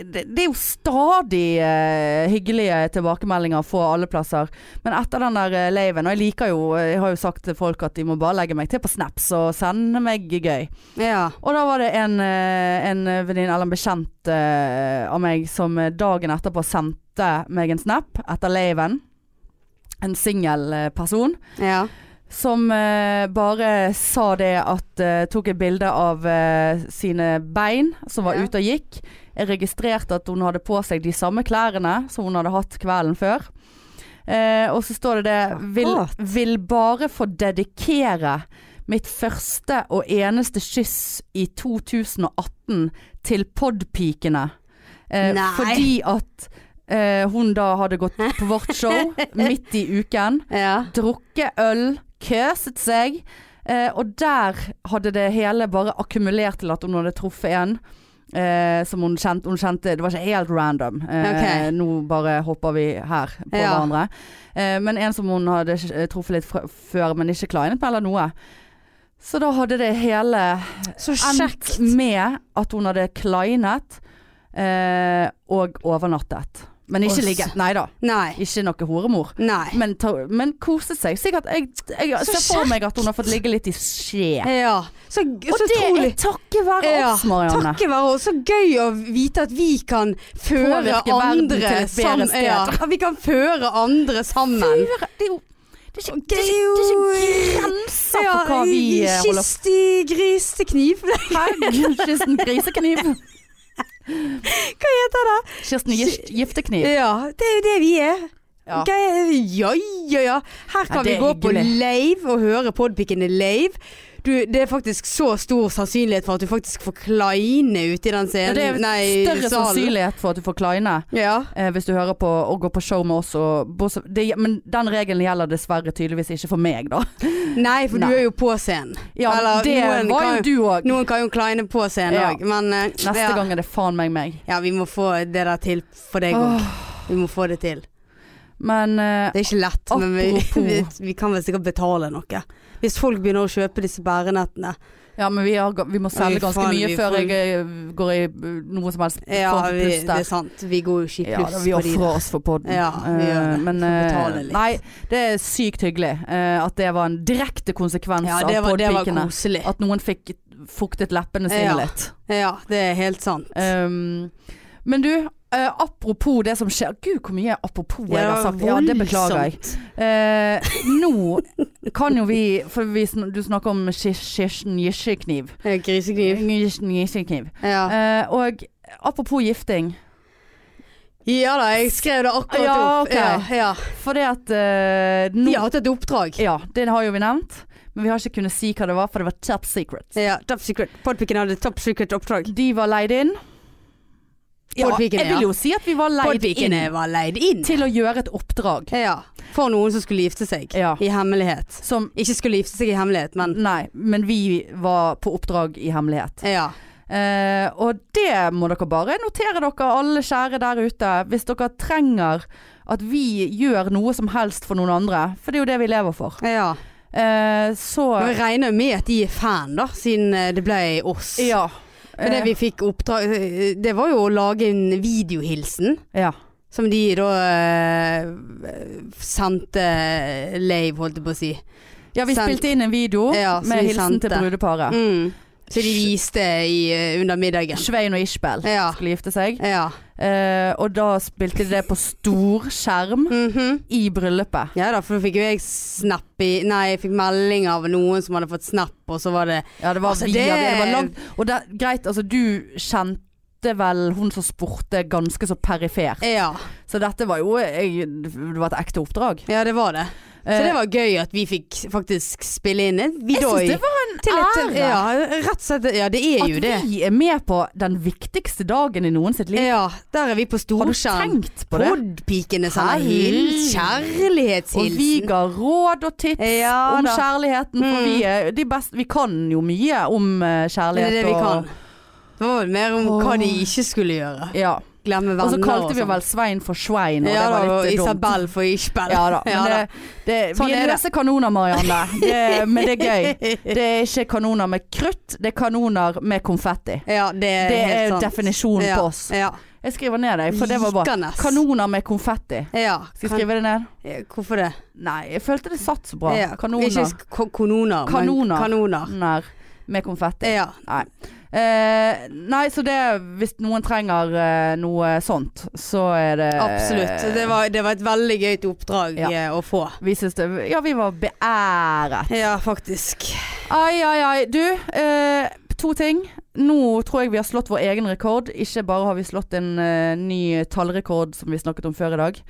S2: det, det er jo stadig eh, hyggelige tilbakemeldinger fra alle plasser. Men etter den der eh, laven, og jeg liker jo Jeg har jo sagt til folk at de må bare legge meg til på snaps og sende meg gøy.
S1: Ja.
S2: Og da var det en, eh, en venninne eller en bekjent eh, av meg som eh, dagen etterpå sendte meg en snap etter laven. En singel eh, person.
S1: ja.
S2: Som eh, bare sa det at eh, Tok et bilde av eh, sine bein som var
S1: Ja.
S2: ute og gikk. Jeg registrerte at hun hadde på seg de samme klærne som hun hadde hatt kvelden før. Eh, og så står det det vil,
S1: Akkurat.
S2: vil bare få dedikere mitt første og eneste kyss i 2018 til podpikene. Eh,
S1: Nei.
S2: fordi at eh, hun da hadde gått på vårt show midt i uken
S1: ja.
S2: drukket øl, køset seg. Eh, og der hadde det hele bare akkumulert til at hun hadde truffet en. Eh, som hun kjente, hun kjente Det var ikke helt random. Eh,
S1: Ok.
S2: Nå bare hopper vi her på
S1: Ja.
S2: hverandre. Eh, men en som hun hadde eh, truffet litt fra, før, men ikke kleinet med eller noe. Så da hadde det hele
S1: Så
S2: endt
S1: kjekt.
S2: med at hun hadde kleinet eh, og overnattet. Men
S1: Oss.
S2: ikke ligget. Nei da.
S1: Nei.
S2: Ikke noe horemor.
S1: Nei.
S2: Men, ta- men koset seg. Sikkert jeg, jeg
S1: Så
S2: ser for meg at hun har fått ligge litt i skje.
S1: Ja. Så,
S2: Og
S1: så
S2: det er
S1: utrolig.
S2: takket være
S1: Ja,
S2: oss, Marianne.
S1: Takket være oss. Så gøy å vite at vi kan føre
S2: Påvirke verden
S1: andre
S2: til et bedre
S1: sammen.
S2: sted.
S1: Ja, at vi kan føre andre sammen.
S2: Fy, Det er jo Det er ikke,
S1: Det
S2: det er
S1: er
S2: ikke, det
S1: jo-
S2: er ikke grenser for hva vi eh, holder på
S1: Kist i gris til kniv.
S2: med. Kirsten Grisekniv.
S1: Hva heter det? Eh,
S2: Kirsten Gif- Giftekniv.
S1: Ja, det er jo det vi er.
S2: Ja.
S1: Hva er- Ja, ja, ja. Her
S2: Ja,
S1: kan
S2: det
S1: vi
S2: er
S1: gå på
S2: hyggelig.
S1: lave og høre podpikene lave. Du, det er faktisk så stor sannsynlighet for at du faktisk får kleine ute i den
S2: Ja,
S1: scenen.
S2: det er
S1: Nei,
S2: større
S1: salen.
S2: sannsynlighet for at du får kleine
S1: Ja.
S2: eh, hvis du hører på og går på show med oss. Og, bortsett- det, men den regelen gjelder dessverre tydeligvis ikke for meg, da.
S1: Nei, for
S2: Nei.
S1: du er jo på scenen.
S2: Ja,
S1: Eller,
S2: det
S1: noen
S2: var
S1: kan-
S2: jo du òg.
S1: Noen kan jo kleine på scenen
S2: Ja.
S1: òg, men eh,
S2: Neste
S1: ja.
S2: gang er det faen meg meg.
S1: ja, vi må få det der til for deg òg.
S2: Åh,
S1: Vi må få det til.
S2: Men eh,
S1: Det er ikke lett, men vi, vi,
S2: Apropos.
S1: vi kan vel sikkert betale noe. Hvis folk begynner å kjøpe disse bærenettene.
S2: Ja, men vi, har, ga- vi må selge
S1: vi
S2: ganske
S1: faen,
S2: mye
S1: vi
S2: før
S1: får-
S2: jeg eh, går i eh, noe som helst
S1: Ja,
S2: form for
S1: vi,
S2: pluss
S1: det er
S2: der.
S1: sant. Vi går jo ikke i
S2: Ja,
S1: pluss
S2: da, vi
S1: på de
S2: ofrer
S1: der.
S2: oss for podden.
S1: Ja, vi
S2: Eh,
S1: gjør det.
S2: Men
S1: Får
S2: eh,
S1: betale litt.
S2: nei, det er sykt hyggelig eh, at det var en direkte konsekvens
S1: Ja, det
S2: av
S1: var, det var
S2: podpikene.
S1: koselig.
S2: At noen fikk fuktet leppene sine
S1: Ja.
S2: litt.
S1: Ja, det er helt sant.
S2: Um, men du, eh, apropos det som skjer Gud, hvor mye apropos jeg har sagt. Ja, det beklager jeg. Eh, nå kan jo vi For vi, sn- du snakker om kirsten gisjekniv.
S1: jeg. Grisekniv.
S2: Kirsten gisjekniv.
S1: Ja.
S2: Eh, og apropos gifting.
S1: ja da, jeg skrev det akkurat
S2: Ja,
S1: opp.
S2: ok.
S1: Ja, ja.
S2: For det at eh, nå,
S1: De har hatt et oppdrag.
S2: ja, det har jo vi nevnt. Men vi har ikke kunnet si hva det var, for det var top secret.
S1: Ja, Top Secret. Podpiken hadde Top Secret-oppdrag.
S2: De var leid inn. Ja,
S1: Podpikene,
S2: jeg vil jo si at vi var leid inn
S1: Podpikene var leid inn.
S2: til å gjøre et oppdrag
S1: Ja, for noen som skulle gifte seg
S2: Ja.
S1: i hemmelighet.
S2: som
S1: Ikke skulle gifte seg i hemmelighet, men
S2: Nei, men vi var på oppdrag i hemmelighet.
S1: ja.
S2: Eh, og det må dere bare notere dere, alle kjære der ute. Hvis dere trenger at vi gjør noe som helst for noen andre, for det er jo det vi lever for.
S1: ja.
S2: Eh, så
S1: Og jeg regner jo med at de er fan, da, siden eh, det ble oss.
S2: Ja.
S1: Men det vi fikk oppdrag Det var jo å lage en videohilsen.
S2: Eh, Ja.
S1: Som de da eh, sendte Lave, holdt jeg på å si.
S2: ja, vi
S1: Sendt.
S2: spilte inn en video
S1: Ja, som
S2: med
S1: vi
S2: hilsen til
S1: sendte.
S2: brudeparet.
S1: Mm. Så de viste i, eh, under middagen.
S2: Svein og Ishbel
S1: Ja.
S2: skulle gifte seg.
S1: Ja.
S2: Eh, og da spilte de det på stor skjerm
S1: Mhm.
S2: i bryllupet.
S1: ja da, for da fikk jo jeg snap i Nei, jeg fikk melding av noen som hadde fått snap, og så var det
S2: Ja, det var
S1: Altså,
S2: via,
S1: det-
S2: det... var langt. Og det, greit, altså du kjente vel hun som spurte ganske så perifert.
S1: Ja,
S2: Så dette var jo jeg, Det var et ekte oppdrag.
S1: ja det var det. Så
S2: Eh.
S1: det var gøy at vi fikk faktisk spille inn en
S2: jeg
S1: vidoi.
S2: syns det var en ære.
S1: Ja, rett og slett. Ja, det er jo
S2: at
S1: det. Eh,
S2: vi er med på den viktigste dagen i noen sitt liv.
S1: Ja, der er vi på
S2: Har du
S1: storskjerm.
S2: tenkt på det?
S1: Podpikene sender
S2: Hei.
S1: hils,
S2: Og vi
S1: kjærlighetshilsen.
S2: ga råd og tips
S1: Ja
S2: om
S1: da.
S2: kjærligheten, for
S1: Mm.
S2: vi, er de beste, vi kan jo mye om eh,
S1: Det
S2: kjærlighet.
S1: er det vi
S2: og-
S1: kan. Det var vel mer om hva de ikke skulle gjøre.
S2: Ja.
S1: Glemme venner
S2: Og
S1: og
S2: så
S1: sånn.
S2: kalte vi vel Svein for Svein, og
S1: ja,
S2: det var
S1: da, og
S2: litt eh, dumt.
S1: Isabel for Ishbel.
S2: Ja da. Men
S1: Ja da.
S2: det, det,
S1: Sånn
S2: vi
S1: er
S2: er
S1: det.
S2: løse kanoner, Marianne. Det, men det er gøy. Det er ikke kanoner med krutt, det er kanoner med konfetti.
S1: Ja, det er
S2: Det
S1: helt
S2: er
S1: sant.
S2: definisjonen
S1: ja,
S2: på oss.
S1: Ja.
S2: Jeg skriver ned det, for det var bra.
S1: Likanes.
S2: Kanoner med konfetti.
S1: Ja.
S2: Skal jeg
S1: kan-
S2: skrive det ned?
S1: Ja, Hvorfor det?
S2: Nei, jeg følte det satt så bra.
S1: Ja, Ikke
S2: Kanoner.
S1: sk- ko- kanoner, men
S2: Kanoner.
S1: kanoner.
S2: Nær med konfetti.
S1: Ja.
S2: Eh, nei, så det Hvis noen trenger eh, noe sånt, så er det eh,
S1: Absolutt. Det var, det var et veldig gøyt oppdrag
S2: Ja.
S1: eh, å få.
S2: Vi syns det Ja, vi var beæret.
S1: Ja, faktisk.
S2: Ai, ai, ai. Du, eh, to ting. Nå tror jeg vi har slått vår egen rekord. Ikke bare har vi slått en eh, ny tallrekord som vi snakket om før i dag,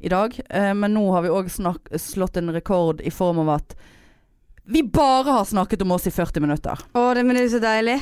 S2: i dag eh, men nå har vi òg slått en rekord i form av at vi bare har snakket om oss i 40 minutter.
S1: Å, det, men det er jo så deilig.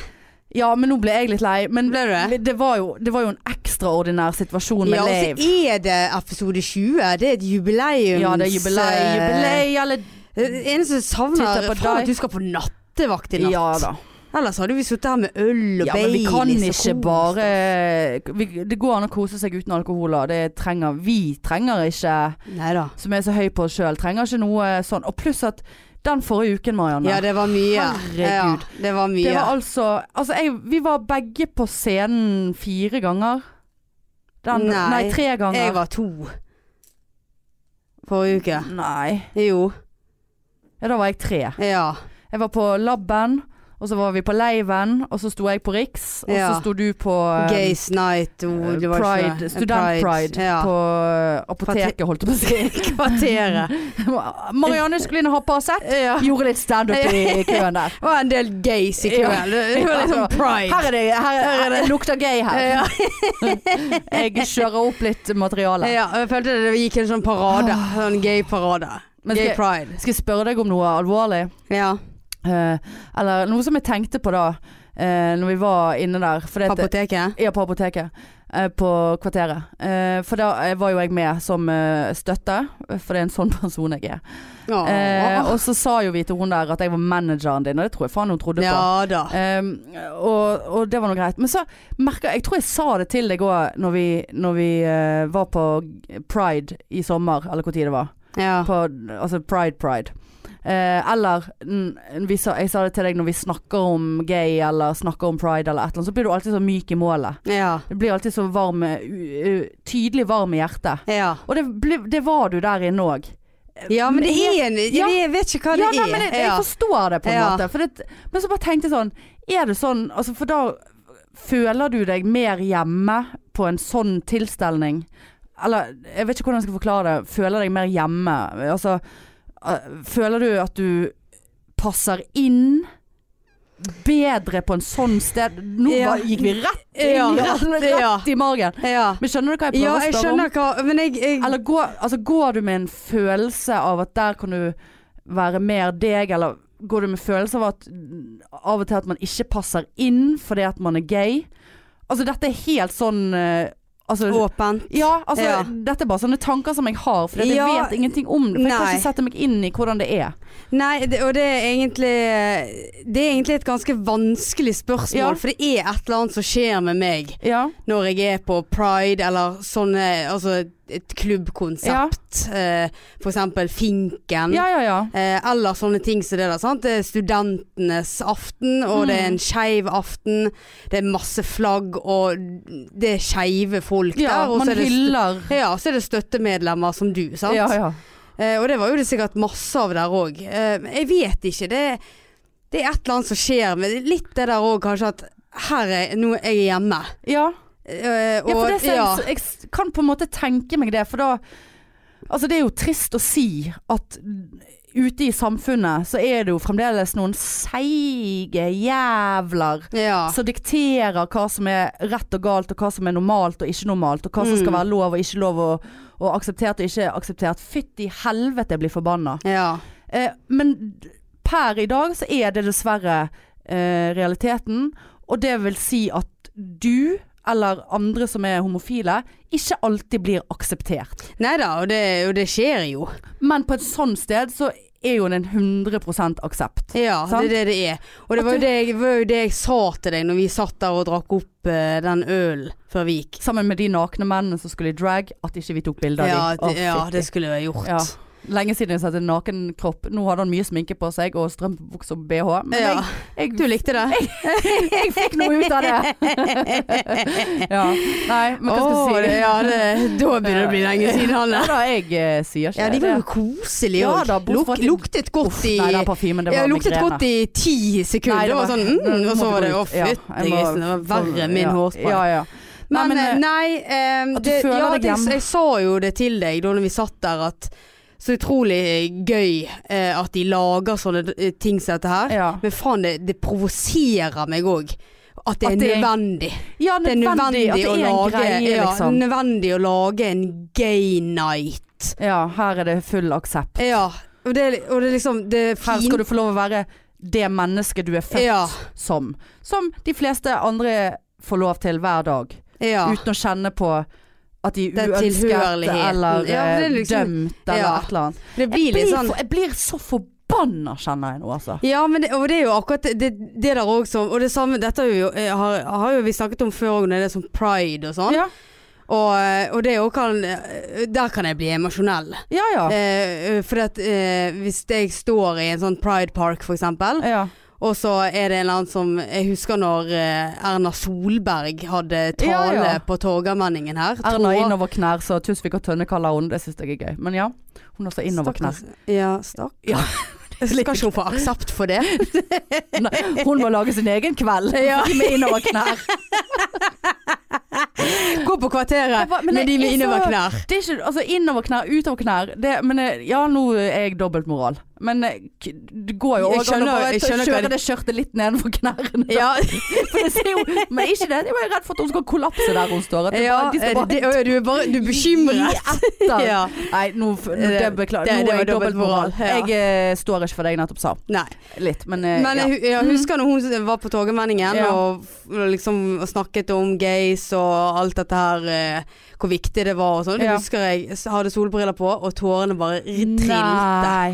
S2: Ja, men nå ble jeg litt lei. Men
S1: Ble du det?
S2: Det var jo, det var jo en ekstraordinær situasjon med
S1: Ja, og
S2: Lave.
S1: så er det episode 20. Det er et jubileums...
S2: Ja, det er jubileum,
S1: eh,
S2: jubilei, eller
S1: Det eneste jeg savner,
S2: Titta på
S1: er faen
S2: deg.
S1: at du skal på nattevakt i natt.
S2: Ja da.
S1: Ellers hadde vi sittet her med øl og
S2: Ja, men vi kan
S1: Baileys og
S2: ikke
S1: kost.
S2: bare vi, Det går an å kose seg uten alkohol. da. Det trenger, vi trenger ikke,
S1: Nei da.
S2: som er så høy på oss sjøl, trenger ikke noe sånn. Og pluss at den forrige uken, Marianne
S1: Ja, det var mye.
S2: Herregud.
S1: Ja, det var mye.
S2: det var altså Altså, jeg, vi var begge på scenen fire ganger. Den, nei.
S1: Nei,
S2: tre ganger.
S1: Jeg var to. Forrige uke.
S2: Nei.
S1: Jo.
S2: Ja, da var jeg tre.
S1: Ja.
S2: Jeg var på laben, og så var vi på leiven, og så sto jeg på Riks, og
S1: Ja.
S2: så sto du på eh,
S1: Gays night og
S2: eh,
S1: det var ikke
S2: Pride,
S1: noe-
S2: studentpride
S1: Ja.
S2: på eh, apoteket, holdt jeg på å si.
S1: Kvarteret.
S2: Marianne skulle inn og ha Paracet.
S1: Ja.
S2: Gjorde litt standup i køen der. Altså,
S1: Det var en del gays i kveld. Det var
S2: sånn
S1: liksom pride.
S2: Her er det, her, her er det lukter gay her.
S1: Ja.
S2: Jeg kjører opp litt materiale.
S1: Ja, og jeg følte det gikk en sånn parade. Sånn gay-parade.
S2: Ah. Men
S1: Gay
S2: skal-
S1: pride.
S2: Skal jeg spørre deg om noe alvorlig?
S1: Ja.
S2: Eh, eller noe som jeg tenkte på da, eh, når vi var inne der. For
S1: På
S2: det,
S1: apoteket.
S2: Ja, på apoteket. Eh, på Kvarteret. Eh, for da eh, var jo jeg med som eh, støtte, for det er en sånn person jeg er.
S1: Åh. Ah.
S2: Eh, og så sa jo vi til hun der at jeg var manageren din, og det tror jeg faen hun trodde på.
S1: ja da.
S2: Eh, og, og det var nå greit. Men så merka jeg tror jeg sa det til deg òg når vi, når vi eh, var på pride i sommer, eller hvor tid det var.
S1: Ja.
S2: På, altså pride, pride. Eh, eller mm, vi sa, jeg sa det til deg når vi snakker om gay eller snakker om pride eller et eller annet, så blir du alltid så myk i målet.
S1: Ja.
S2: Du blir alltid så varm, u- u- tydelig varm i hjertet.
S1: ja.
S2: Og det, ble, det var du der inne òg.
S1: Ja, men det er en
S2: Ja.
S1: Jeg vet ikke hva det
S2: Ja,
S1: er.
S2: nei, men jeg, jeg
S1: Ja.
S2: forstår det på en
S1: Ja.
S2: måte. For det, men så bare tenkte jeg sånn Er det sånn altså For da føler du deg mer hjemme på en sånn tilstelning. Eller jeg vet ikke hvordan jeg skal forklare det. Føler deg mer hjemme. Altså øh, Føler du at du passer inn? Bedre på en sånn sted Nå
S1: Ja.
S2: var- gikk vi rett, inn,
S1: Ja,
S2: i-
S1: rett-
S2: rett
S1: ja.
S2: i magen.
S1: ja.
S2: Men skjønner du hva jeg prøver
S1: ja,
S2: å
S1: jeg
S2: spørre om?
S1: skjønner hva Men jeg, jeg
S2: Eller går, altså, går du med en følelse av at der kan du være mer deg, eller går du med følelse av at av og til at man ikke passer inn fordi at man er gay? Altså dette er helt sånn eh, altså,
S1: Åpent.
S2: ja, altså
S1: Ja.
S2: dette er bare sånne tanker som jeg har, for jeg
S1: Ja,
S2: vet ingenting om det. For
S1: nei.
S2: jeg kan ikke sette meg inn i hvordan det er.
S1: Nei, det, og det er egentlig Det er egentlig et ganske vanskelig spørsmål,
S2: Ja.
S1: for det er et eller annet som skjer med meg
S2: Ja.
S1: når jeg er på pride eller sånne Altså et klubbkonsept. Eh, for eksempel Finken.
S2: Ja, ja, ja.
S1: Eh, eller sånne ting som det der. Sant? Det er studentenes aften, og det er
S2: Mm.
S1: en skeiv aften. Det er masse flagg, og det er skeive folk
S2: ja
S1: der. Og så
S2: man
S1: er, det stø-
S2: hyller.
S1: ja, så er det støttemedlemmer som du, sant.
S2: Ja, ja.
S1: Eh, og det var jo det sikkert masse av der òg. Eh, jeg vet ikke. Det, det er et eller annet som skjer, men det er litt det der òg kanskje at her er nå er jeg hjemme.
S2: ja.
S1: Eh,
S2: Ja, for
S1: og-
S2: det ser, jeg- Jeg s- kan på en måte tenke meg det, for da Altså, det er jo trist å si at ute i samfunnet så er det jo fremdeles noen seige jævler
S1: ja.
S2: som dikterer hva som er rett og galt, og hva som er normalt og ikke normalt, og hva som skal
S1: Mm.
S2: være lov og ikke lov, og, og akseptert og ikke akseptert. Fytti helvete, jeg blir forbanna.
S1: ja.
S2: Eh, men d- per i dag så er det dessverre eh, realiteten. Og det vil si at du, eller andre som er homofile, ikke alltid blir akseptert.
S1: Nei da, og det, og det skjer jo.
S2: Men på et sånt sted så er jo det en 100 aksept.
S1: Ja,
S2: Sant?
S1: det er det det er. Og det
S2: At
S1: var jo
S2: du-
S1: det, jeg, var jo det jeg sa til deg når vi satt der og drakk opp eh, den ølen før vi gikk.
S2: Sammen med de nakne mennene som skulle i drag, at ikke vi tok bilde av
S1: Ja,
S2: dem.
S1: det, ja, det skulle jeg ha gjort.
S2: Ja. Lenge siden jeg har sett en naken kropp. Nå hadde han mye sminke på seg og strømpebukse og bh. Men
S1: Ja.
S2: jeg,
S1: Du
S2: jeg,
S1: likte det?
S2: jeg fikk noe ut av det. ja. Nei, men hva skal jeg
S1: Åh,
S2: si?
S1: det, ja, det, da begynner det å bli lenge siden han
S2: Ja
S1: er.
S2: da, jeg eh, sier ikke
S1: Ja, de var jo
S2: det.
S1: koselige
S2: Ja
S1: òg.
S2: da, bortsett fra at de-
S1: luktet godt
S2: Uff,
S1: i
S2: nei, den parfymen, det
S1: ja,
S2: var
S1: luktet
S2: migrene.
S1: godt i ti sekunder.
S2: Nei,
S1: det var sånn mm,
S2: nå
S1: Og så
S2: må
S1: var
S2: du
S1: det
S2: gå
S1: å,
S2: ut. Ja, jeg
S1: fytti
S2: må-
S1: grisen. Det var verre enn min
S2: Sånn, ja,
S1: hårspray.
S2: Ja, ja. Nei,
S1: Men,
S2: men,
S1: eh,
S2: eh,
S1: nei eh,
S2: at du
S1: det,
S2: føler
S1: ja,
S2: deg
S1: det,
S2: hjemme.
S1: Jeg sa jo det til deg da når vi satt der at Så utrolig gøy eh, at de lager sånne eh, ting som dette her.
S2: ja.
S1: Men faen, det, det provoserer meg òg. At det er
S2: At det er-
S1: nødvendig.
S2: ja,
S1: Det er nødvendig
S2: at det
S1: å
S2: er en
S1: lage
S2: greie,
S1: ja,
S2: liksom.
S1: Nødvendig å lage en gay night.
S2: Ja, her er det full aksept.
S1: Ja. Og det, er- og det er liksom Det er
S2: Her
S1: fint.
S2: skal du få lov å være det mennesket du er født
S1: Ja.
S2: som. Som de fleste andre får lov til hver dag.
S1: Ja.
S2: Uten å kjenne på at de
S1: Den
S2: er uønsket
S1: tilhørigheten.
S2: eller
S1: Ja, for
S2: eh,
S1: det er liksom-
S2: dømt eller
S1: Ja.
S2: et eller annet.
S1: Det
S2: liksom- Jeg
S1: blir
S2: blir,
S1: litt sånn
S2: for, jeg blir så forbanna, kjenner jeg nå, altså.
S1: Ja, men det, og det er jo akkurat det, det, det der òg som Og det samme, dette er jo, eh, har, har jo vi snakket om før òg, når det er sånn pride og sånn.
S2: Ja,
S1: Og, eh, og det òg kan eh, Der kan jeg bli emosjonell.
S2: ja. ja.
S1: Eh, for at eh, hvis jeg står i en sånn pride park, for eksempel,
S2: ja.
S1: og så er det en eller annen som Jeg husker når eh, Erna Solberg hadde tale
S2: Ja, ja.
S1: på Torgallmenningen her.
S2: Erna
S1: Tå-
S2: innover knær, så Tusvik og Tønne kaller hun. Det syns jeg er gøy. Men ja, hun også innover knær.
S1: Stakkars- Ja, stakk.
S2: Ja.
S1: Skal ikke hun få aksept for det?
S2: Nei, Hun må lage sin egen kveld
S1: Ja.
S2: med innover knær.
S1: Gå på Kvarteret
S2: Jeg bare- men
S1: med de
S2: jeg
S1: med
S2: er så-
S1: innover knær.
S2: Det er ikke, altså innover knær, utover knær. Det, men eh, ja, nå er jeg dobbeltmoral. Men eh, k- det går jo
S1: Jeg
S2: også an å
S1: skjønner-
S2: bare
S1: jeg
S2: ta-
S1: skjønner hva
S2: kjøre
S1: de-
S2: det skjørtet litt nedenfor knærne.
S1: Ja,
S2: For det ser jo, men ikke det. Jeg var jo redd for at hun skal kollapse der hun står. At det
S1: Ja,
S2: bare, de skal
S1: eh,
S2: bare
S1: det, å, du er bare du er
S2: gi
S1: bekymret.
S2: etter.
S1: Ja.
S2: Nei, nå, f- nå det,
S1: Det-
S2: beklager.
S1: det-
S2: Nå
S1: det
S2: er
S1: var
S2: jeg
S1: dobbeltmoral,
S2: dobbeltmoral.
S1: ja.
S2: Jeg eh, står ikke for det jeg nettopp sa.
S1: Nei.
S2: Litt, men, eh,
S1: Men
S2: ja.
S1: jeg, hu- jeg husker når hun s- var på Torgallmenningen
S2: Ja.
S1: og f- liksom snakket om gays og alt dette her, eh, hvor viktig det var og sånn. Det
S2: Ja.
S1: husker jeg s- hadde solbriller på, og tårene bare trilte. Nei.
S2: Nei.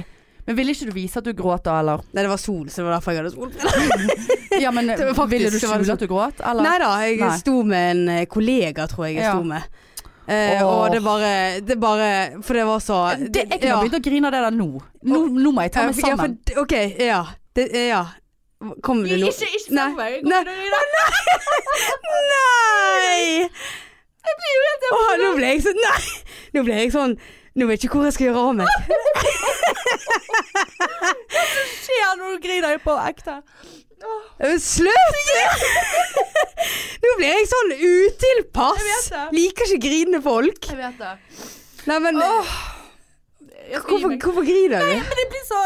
S2: Men ville ikke du vise at du gråt da, eller?
S1: det var sol, så det var derfor jeg hadde solbriller.
S2: Ja, men
S1: Det var faktisk-
S2: ville du
S1: det var
S2: skjule
S1: liksom-
S2: at du gråt, eller?
S1: Nei da, jeg
S2: Nei.
S1: sto med en eh, kollega, tror jeg jeg
S2: Ja.
S1: sto med. Eh,
S2: Åh.
S1: og det bare, det bare For det var så
S2: det, jeg kunne
S1: ja.
S2: ha begynt å grine av det der nå. Nå, nå må jeg ta meg
S1: Ja, for-
S2: sammen.
S1: OK, ja. Det, eh, ja. Kommer det noe
S2: ikke
S1: Nei. Nei. Nei! Åh, nå ble jeg sånn Nei! Nå ble jeg sånn Nå vet jeg ikke hvor jeg skal gjøre av meg.
S2: Skjer når du griner på ekte.
S1: Øh, Slutt! Nå ble jeg sånn utilpass.
S2: Jeg vet det.
S1: Liker ikke grinende folk.
S2: Jeg vet det.
S1: Nei, men eh, hvorfor, hvorfor griner du?
S2: Men det blir så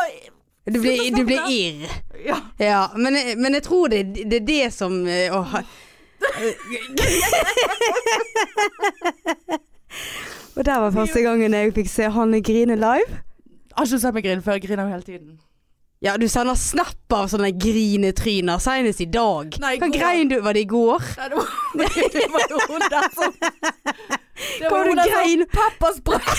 S1: Du blir,
S2: slutt å
S1: du
S2: snakke
S1: blir
S2: om
S1: irr.
S2: Ja.
S1: Ja, men, jeg- men jeg tror det, det er det som øh, Åh. Og der var første gangen jeg fikk se Hanne grine live.
S2: Jeg har ikke sett meg grine før. Jeg griner jo hele tiden.
S1: Ja, du sender snap av sånne grinetryner senest i dag.
S2: Nei, i
S1: Hva
S2: går.
S1: grein du? Var det i går?
S2: Nei, det var, det var jo hun der som Det
S1: Hva du grein?
S2: Pappas brød.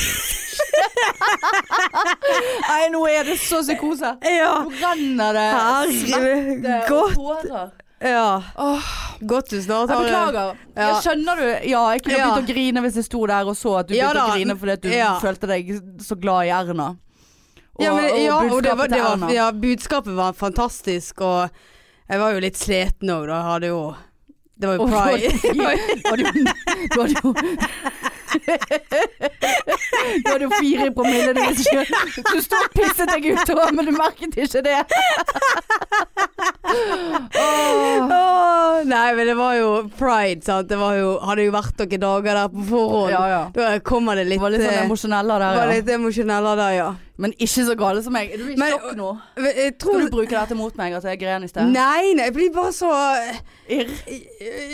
S2: Nei, nå er det så psykose.
S1: Ja.
S2: Nå renner det
S1: Herregud.
S2: svette og
S1: Godt.
S2: tårer.
S1: Eh, Ja.
S2: Åh,
S1: Godt du snart
S2: jeg
S1: har
S2: beklager.
S1: Ja.
S2: Jeg skjønner du. Ja, jeg kunne
S1: Ja.
S2: begynt å grine hvis jeg sto der og så at du
S1: Ja
S2: begynte
S1: da.
S2: å grine fordi at du
S1: Ja.
S2: følte deg så glad i Erna. Og,
S1: Ja, men, ja, og det var,
S2: budskapet
S1: det
S2: til
S1: var,
S2: Erna.
S1: ja, budskapet var fantastisk, og jeg var jo litt sliten òg, da. Jeg hadde jo Det var jo
S2: Og så-
S1: pride.
S2: Du hadde jo Du hadde jo Du hadde jo fire i promille, du visste ikke Du sto og pisset deg ut, da, men du merket ikke det. Åh.
S1: Åh, nei, men det var jo pride, sant. Det var jo, hadde jo vært noen dager der på forhånd.
S2: Ja, ja.
S1: Da kommer det
S2: Du
S1: litt
S2: var litt sånn
S1: eh,
S2: emosjoneller
S1: var
S2: der, ja.
S1: litt emosjoneller der, ja.
S2: Men ikke så gale som meg. Er du i
S1: Men-
S2: sjokk nå?
S1: Men Jeg
S2: Skal
S1: tror
S2: du bruke dette mot meg, at jeg gren i sted?
S1: Nei, nei, jeg blir bare så eh,
S2: Irr.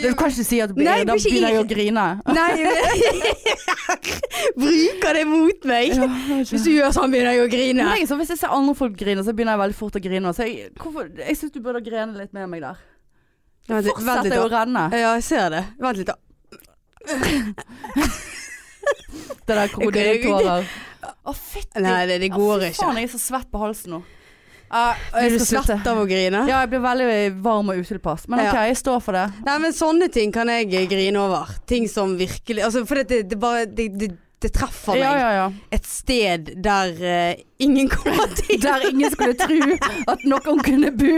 S2: Du kan ikke si at du blir
S1: Nei,
S2: irr. Da
S1: jeg blir ikke
S2: begynner jeg
S1: irr.
S2: å grine.
S1: Nei, bruker det mot meg.
S2: Ja, jeg vet ikke.
S1: Hvis du gjør sånn, begynner jeg å grine.
S2: Men jeg er sånn, hvis jeg ser andre folk grine, så begynner jeg veldig fort å grine. Så jeg, hvorfor, jeg syns du burde grene litt med meg der.
S1: Ja, det- vent litt
S2: Fortsetter jo å
S1: da.
S2: renne.
S1: Ja, jeg ser det. Vent litt, da.
S2: Det der krokodilletårer. Å, fytti
S1: Nei, det, det går
S2: Ja, fy
S1: ikke.
S2: faen, jeg er så svett på halsen nå. Ja, og
S1: Er
S2: jeg
S1: du
S2: skal slutte.
S1: svett av å grine?
S2: Ja, jeg blir veldig varm og utilpass. Men OK,
S1: Ja.
S2: jeg står for det.
S1: Nei, men sånne ting kan jeg eh, grine over. Ting som virkelig Altså, for det, det bare det, det, det treffer meg.
S2: Ja, ja, ja.
S1: Et sted der eh, ingen kommer til.
S2: Der ingen skulle tro at noen kunne bo.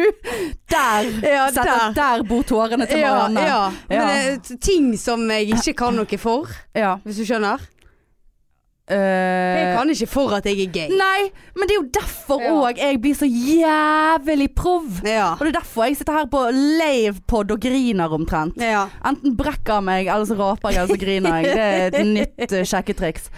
S2: Der,
S1: Ja,
S2: Sett at der bor tårene til
S1: Ja,
S2: Marianne.
S1: ja. Men
S2: Ja.
S1: det er ting som jeg ikke kan noe for,
S2: Ja.
S1: hvis du skjønner. Jeg
S2: Eh,
S1: kan ikke for at jeg er gay.
S2: Nei, men det er jo derfor
S1: Ja.
S2: òg jeg blir så jævlig prov.
S1: Ja.
S2: Og det er derfor jeg sitter her på livepod og griner omtrent.
S1: ja.
S2: Enten brekker jeg meg, eller så raper jeg, eller så griner jeg. Det er et nytt eh, sjekketriks.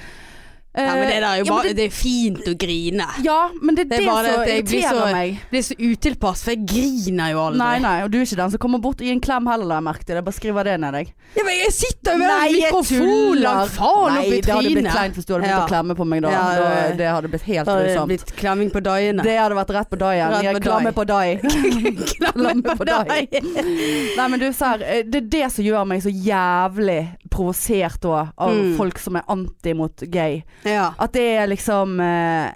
S1: Nei, men det der er jo
S2: ja,
S1: bare
S2: men det,
S1: Det er fint å grine.
S2: ja, men det er
S1: Det
S2: det,
S1: er bare
S2: som
S1: at jeg blir
S2: irriterer
S1: så-
S2: meg.
S1: Det er så utilpass, for jeg griner jo aldri.
S2: Nei, nei, og du er ikke den som kommer bort og gir en klem heller, la jeg merke til. Jeg bare skriver det ned, jeg.
S1: Ja, men jeg sitter jo med
S2: Nei,
S1: den
S2: jeg
S1: mikrofonen
S2: tuller.
S1: langt faen opp
S2: Nei,
S1: i
S2: det hadde blitt
S1: trynet.
S2: kleint hvis du hadde begynt
S1: Ja.
S2: å klemme på meg da.
S1: Ja,
S2: da.
S1: det-
S2: Det hadde blitt helt
S1: Da hadde det
S2: grusomt.
S1: blitt klemming på daiene.
S2: Det hadde vært rett på dagen.
S1: Rett
S2: Jeg
S1: på
S2: klammer
S1: dai.
S2: på dai.
S1: Klemming
S2: på dai. Nei, men du, ser, eh, det er det som gjør meg så jævlig provosert da, av
S1: Mm.
S2: folk som er anti mot gay.
S1: Ja.
S2: At det er liksom eh,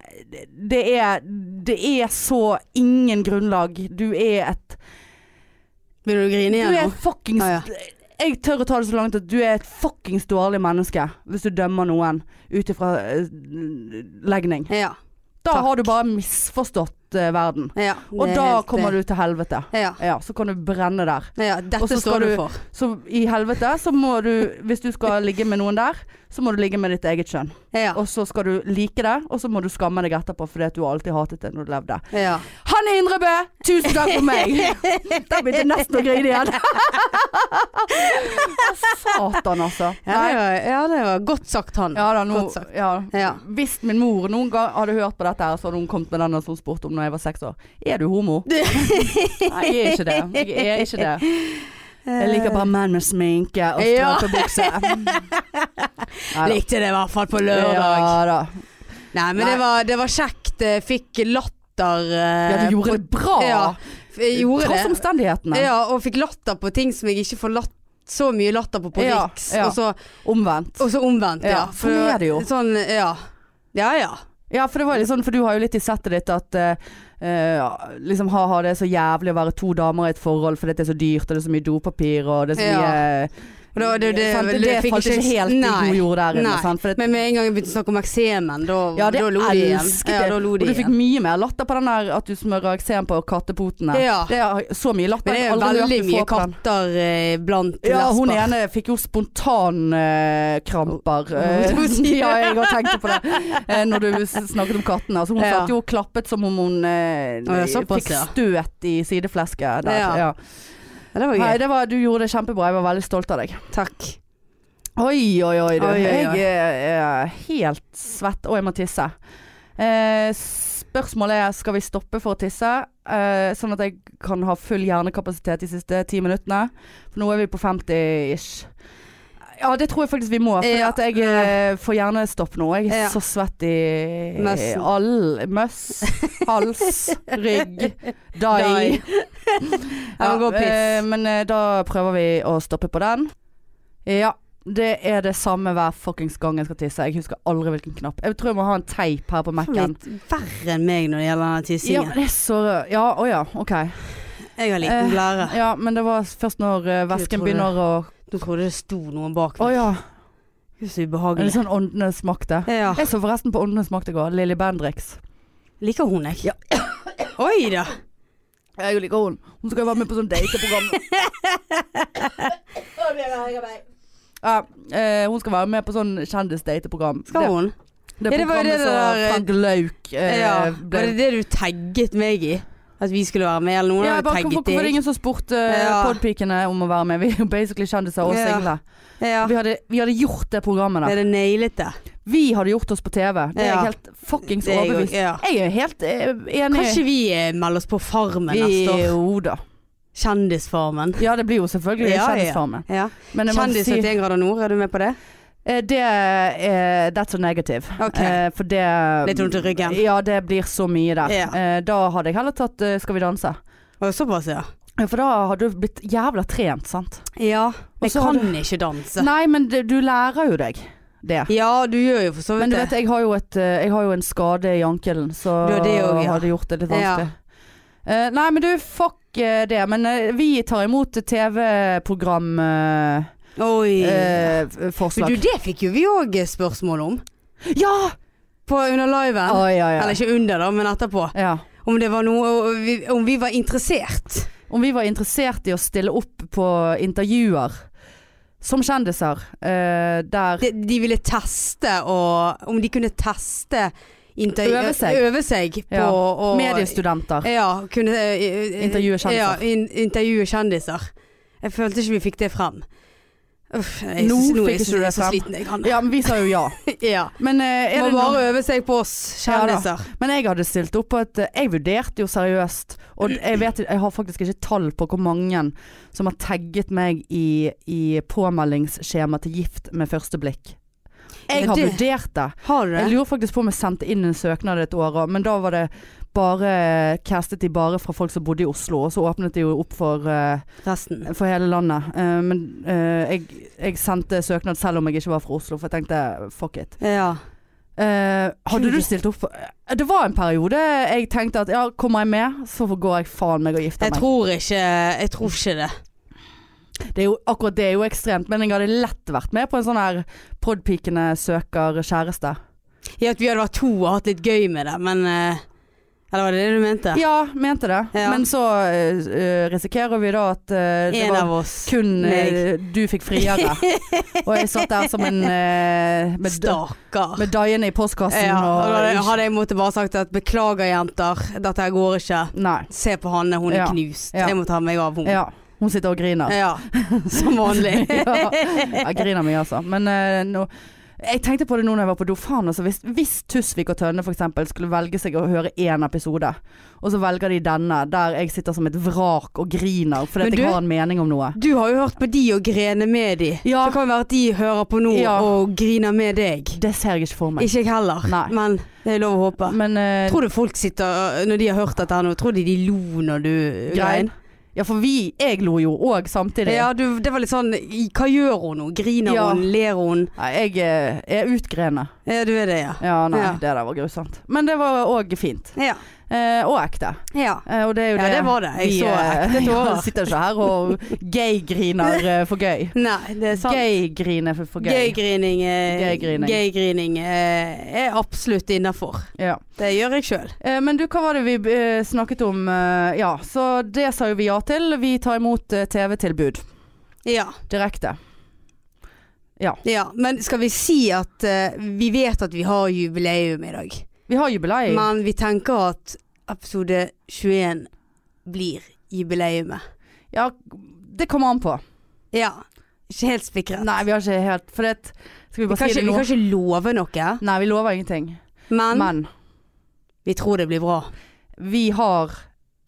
S2: Det er, det er så ingen grunnlag. Du er et
S1: Vil du grine
S2: Du
S1: igjen
S2: er
S1: nå?
S2: fuckings
S1: Ja, ja.
S2: Jeg tør å ta det så langt at du er et fuckings dårlig menneske hvis du dømmer noen ut ifra eh, legning.
S1: Ja.
S2: Da
S1: Takk.
S2: har du bare misforstått eh, verden.
S1: ja
S2: Og da kommer du til helvete.
S1: Ja.
S2: Ja, så kan du brenne der.
S1: ja
S2: Og
S1: dette
S2: så skal
S1: står du
S2: du-
S1: for.
S2: Så i helvete så må du, hvis du skal ligge med noen der, så må du ligge med ditt eget kjønn.
S1: Ja.
S2: Og så skal du like det, og så må du skamme deg etterpå fordi at du alltid hatet det når du levde.
S1: ja.
S2: Hanne Indrebø, tusen takk for meg! Da begynte jeg nesten å grine igjen. Satan, altså.
S1: Ja, det
S2: Nei.
S1: var, ja, det var godt sagt, han.
S2: Ja da, nå
S1: Godt sagt.
S2: ja.
S1: Ja.
S2: Hvis min mor noen gang hadde hørt på dette, her, så hadde hun kommet med den som hun spurte om da jeg var seks år. Er du homo? Nei, jeg er ikke det. Jeg er ikke det. Jeg liker bare menn med sminke og
S1: Ja.
S2: strømpe bukse. Nei da.
S1: Likte det i hvert fall på lørdag.
S2: Ja da.
S1: Nei, men
S2: Nei.
S1: Det, var, det var kjekt. eh, Fikk latter. eh,
S2: Ja, du gjorde det bra.
S1: Ja, f- jeg gjorde
S2: Tross
S1: det.
S2: omstendighetene.
S1: Ja, og fikk latter på ting som jeg ikke får latt, så mye latter på på
S2: Ja,
S1: Riks.
S2: ja.
S1: Og, så,
S2: Omvendt.
S1: og så omvendt, ja.
S2: Ja, sånn er det jo.
S1: Sånn, ja. Ja ja.
S2: Ja, for det var jo litt sånn, for du har jo litt i settet ditt at eh, eh, liksom ha-ha, det er så jævlig å være to damer i et forhold fordi det er så dyrt, og det er så mye dopapir, og det er så
S1: Ja.
S2: mye
S1: Og da- det- det-
S2: sant,
S1: det fikk
S2: falt
S1: ikke-
S2: ikke helt i
S1: Nei.
S2: god jord der inne.
S1: Nei.
S2: Sant? For det,
S1: Men med en gang jeg begynte å snakke om eksemen, da,
S2: ja, det
S1: da lo de igjen.
S2: elsket
S1: Ja,
S2: jeg.
S1: da lo
S2: og
S1: de
S2: du fikk
S1: igjen.
S2: mye mer latter på den der at du smører eksem på kattepotene.
S1: Ja.
S2: Det er så mye latter.
S1: Men det er jo
S2: jeg har aldri hørt
S1: veldig
S2: du
S1: mye
S2: få på den.
S1: katter eh, blant
S2: Ja,
S1: lesber.
S2: hun ene fikk jo spontankramper.
S1: Hun- hun sier-
S2: Eh, ja, jeg har tenkt på det eh, når du s- snakket om kattene. Altså, hun
S1: Ja.
S2: satt jo og klappet som om hun eh,
S1: Å, ja, såpass,
S2: fikk
S1: ja.
S2: støt i sideflesket der.
S1: Ja.
S2: Ja.
S1: Ja, det var
S2: Nei,
S1: gøy.
S2: det var, du gjorde det kjempebra. Jeg var veldig stolt av deg.
S1: Takk.
S2: Oi, oi, oi. Du.
S1: Oi, oi, oi.
S2: Jeg er, er helt svett, og jeg må tisse. Eh, spørsmålet er skal vi stoppe for å tisse, eh, sånn at jeg kan ha full hjernekapasitet de siste ti minuttene. For nå er vi på 50-ish. Ja, det tror jeg faktisk vi må. For
S1: Ja.
S2: at jeg eh, får hjernestopp nå. Jeg er
S1: Ja.
S2: så svett i
S1: Møssen.
S2: all Møss, hals, rygg, dai.
S1: Dai. Jeg må gå og
S2: eh,
S1: pisse.
S2: men eh, da prøver vi å stoppe på den. Ja, det er det samme hver fuckings gang jeg skal tisse. Jeg husker aldri hvilken knapp. Jeg tror jeg må ha en teip her på Mac-en.
S1: Litt verre enn meg når det gjelder denne
S2: Ja,
S1: tissingen.
S2: det er så Ja, å ja, ok.
S1: Jeg har liten
S2: Eh,
S1: blære.
S2: Ja, men det var først når eh,
S1: Jeg
S2: væsken
S1: tror
S2: begynner å
S1: Nå trodde jeg det sto noen bak
S2: Å
S1: meg.
S2: ja.
S1: Gud, så
S2: Litt
S1: ubehagelig.
S2: sånn Åndenes makt, det.
S1: Ja.
S2: Jeg så forresten på Åndenes makt i går. Lilly Bendriks.
S1: Liker hun jeg? Oi da.
S2: Jeg liker hun. Hun skal jo være med på sånn dateprogram. Ja, eh, hun skal være med på sånn kjendisdateprogram.
S1: Skal hun?
S2: Det,
S1: Ja, det
S2: det
S1: var jo
S2: programmet
S1: det
S2: som
S1: der-
S2: Frank Løk eh,
S1: ja.
S2: ble
S1: Var det det du tagget meg i? At vi skulle være med, eller noen
S2: Ja,
S1: hadde
S2: bare hvorfor
S1: tagget
S2: hvorfor var det
S1: deg?
S2: ingen som spurte eh,
S1: Ja.
S2: podpikene om å være med? Vi er jo basically kjendiser og
S1: Ja.
S2: single.
S1: Ja.
S2: Vi, hadde, vi hadde gjort det programmet
S1: Det
S2: der.
S1: er det nailet det.
S2: Vi hadde gjort oss på TV. Det er
S1: Ja.
S2: jeg helt fuckings
S1: Det er jeg også,
S2: overbevist.
S1: ja.
S2: Jeg er helt eh, enig.
S1: Kanskje vi eh, melder oss på Farmen neste
S2: vi
S1: år?
S2: Jo da.
S1: Kjendisfarmen.
S2: Ja, det blir jo selvfølgelig
S1: Ja, ja.
S2: Kjendisfarmen.
S1: Ja.
S2: Men jeg må
S1: Kjendis
S2: si
S1: 71 grader nord, er du med på det?
S2: eh, det er That's so negative.
S1: Ok.
S2: Eh, for det eh,
S1: Litt vondt i ryggen.
S2: Ja, det blir så mye der.
S1: Ja.
S2: Eh, da hadde jeg heller tatt eh, Skal vi
S1: Å,
S2: danse.
S1: Såpass, ja.
S2: Ja, For da hadde du blitt jævla trent, sant?
S1: Ja.
S2: Og
S1: Jeg
S2: så har
S1: kan
S2: du-
S1: ikke danse.
S2: Nei, men det, du lærer jo deg det.
S1: Ja, du gjør jo for så
S2: Men
S1: vidt
S2: du
S1: det.
S2: vet, jeg har jo, et, eh, jeg har jo en skade i ankelen, så
S1: Du har det også, ja.
S2: hadde gjort det litt
S1: Ja.
S2: vanskelig. Eh, nei, men du, fuck eh, det. Men eh, vi tar imot TV-programforslag.
S1: Oi.
S2: Eh,
S1: Men
S2: forslag.
S1: du, det fikk jo vi òg spørsmål om.
S2: ja!
S1: På under liven.
S2: Å, ja, ja.
S1: Eller ikke under, da, men etterpå.
S2: ja.
S1: Om det var noe og vi- Om vi var interessert.
S2: Om vi var interessert i å stille opp på intervjuer som kjendiser, eh, der
S1: De, de ville teste og Om de kunne teste intervju...
S2: Øve seg.
S1: Øve seg på
S2: Ja.
S1: å-
S2: mediestudenter
S1: Ja, kunne eh, eh,
S2: Intervjue kjendiser.
S1: Ja, in, intervjue kjendiser. Jeg følte ikke vi fikk det frem. Uff, jeg,
S2: Nå
S1: synes- nå er
S2: fikk
S1: jeg,
S2: ikke du
S1: så- jeg
S2: det
S1: er så
S2: frem.
S1: sliten jeg kan.
S2: Ja, men vi sa jo ja.
S1: Ja.
S2: Men, eh, er
S1: Må
S2: det noe-
S1: bare øve seg på oss
S2: Ja da.
S1: kjendiser.
S2: men jeg hadde stilt opp på et Jeg vurderte jo seriøst, og jeg, vet, jeg har faktisk ikke tall på hvor mange som har tagget meg i, i påmeldingsskjema til gift med første blikk. Jeg
S1: Ja,
S2: har
S1: det-
S2: vurdert det.
S1: Har du
S2: Jeg
S1: det?
S2: lurer faktisk på om jeg sendte inn en søknad et år, og- men da var det bare eh, castet de bare fra folk som bodde i Oslo, og så åpnet de jo opp for eh,
S1: Resten.
S2: for hele landet. Eh, men eh, jeg, jeg sendte søknad selv om jeg ikke var fra Oslo, for jeg tenkte fuck it.
S1: Ja.
S2: Eh, hadde du
S1: Gud.
S2: stilt opp for Eh, Det var en periode jeg tenkte at ja, kommer jeg med, så går jeg faen meg og gifter
S1: Jeg
S2: meg.
S1: tror ikke Jeg tror ikke det.
S2: Det er jo, akkurat det er jo ekstremt, men jeg hadde lett vært med på en sånn her Podpikene søker kjæreste.
S1: I at vi hadde vært to og hatt litt gøy med det, men eh, Eller var det det du mente?
S2: Ja, mente det.
S1: Ja.
S2: Men så eh, risikerer vi da at eh, det
S1: en
S2: var
S1: av oss.
S2: kun
S1: meg.
S2: eh, du fikk friere. og jeg satt der som en eh, med,
S1: Stakkar.
S2: med daiene i postkassen
S1: Ja, og da
S2: og
S1: hadde jeg måttet bare sagt at beklager, jenter, dette her går ikke.
S2: Nei.
S1: Se på Hanne, hun er
S2: Ja.
S1: knust.
S2: Ja.
S1: Jeg må ta meg av henne.
S2: Ja. Hun sitter og griner.
S1: Ja. Som vanlig.
S2: ja. Jeg griner mye, altså. Men eh, nå jeg tenkte på det nå når jeg var på do. Faen, altså, hvis, hvis Tusvik og Tønne f.eks. skulle velge seg å høre én episode, og så velger de denne der jeg sitter som et vrak og griner fordi
S1: Men
S2: at
S1: du-
S2: jeg har en mening om noe.
S1: Du har jo hørt på de og grene med de.
S2: Ja.
S1: Det kan jo være at de hører på nå
S2: Ja.
S1: og griner med deg.
S2: Det ser jeg ikke for meg.
S1: Ikke jeg heller,
S2: Nei.
S1: men det er lov å håpe.
S2: Men eh,
S1: Tror du folk sitter, øh, når de har hørt dette her nå, tror de de lo når du
S2: grein.
S1: grein?
S2: Ja, for vi Jeg lo jo òg samtidig.
S1: Ja, du, det var litt sånn i- Hva gjør hun nå? Griner
S2: Ja.
S1: hun? Ler hun?
S2: Nei, Jeg eh, er utgrenet.
S1: Ja, du er det, ja.
S2: Ja, nei,
S1: Ja.
S2: det der var grusomt. Men det var òg fint.
S1: Ja.
S2: Eh, og ekte.
S1: ja.
S2: Eh, og det er jo
S1: Ja,
S2: det
S1: det var det. Jeg
S2: vi,
S1: så
S2: eh,
S1: ekte tårer.
S2: ja, sitter ikke her og gay-griner eh, for gøy.
S1: Nei, det er sant. eh,
S2: Gay-grine for, for gøy.
S1: Gøy-grining
S2: Gøy-grining.
S1: eh, er absolutt innafor.
S2: Ja.
S1: Det gjør jeg sjøl.
S2: Eh, men du, hva var det vi eh, snakket om? eh, ja, så det sa jo vi ja til. Vi tar imot eh, TV-tilbud
S1: Ja,
S2: direkte.
S1: ja. Men skal vi si at eh, vi vet at vi har jubileum i dag,
S2: Vi har jubileum.
S1: men vi tenker at episode 21 blir jubileumet.
S2: Ja, det kommer an på.
S1: Ja. Ikke helt spikret.
S2: Nei, vi har ikke helt For det Skal vi
S1: vi,
S2: bare
S1: kan
S2: si
S1: ikke,
S2: det
S1: vi
S2: nå?
S1: kan ikke love noe,
S2: Nei, vi lover ingenting.
S1: men,
S2: Men
S1: vi tror det blir bra.
S2: vi har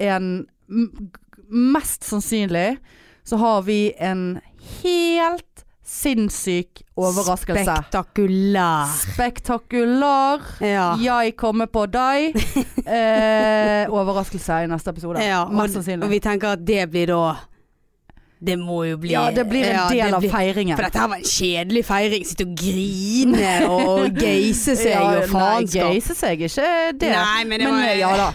S2: en m- Mest sannsynlig så har vi en helt sinnssyk overraskelse.
S1: Spektakulær.
S2: Spektakular.
S1: Ja.
S2: Jeg kommer på deg. Eh, overraskelse i neste episode.
S1: ja og,
S2: Mest
S1: og
S2: sannsynlig.
S1: vi tenker at det blir da Det må jo bli
S2: Ja, det blir en
S1: ja, det
S2: del av
S1: blir-
S2: feiringen.
S1: For dette her var en kjedelig feiring. Sitte og grine og geise seg og
S2: nei,
S1: faenskap.
S2: geise seg ikke det.
S1: Nei, men det
S2: Men
S1: var
S2: eh, ja da.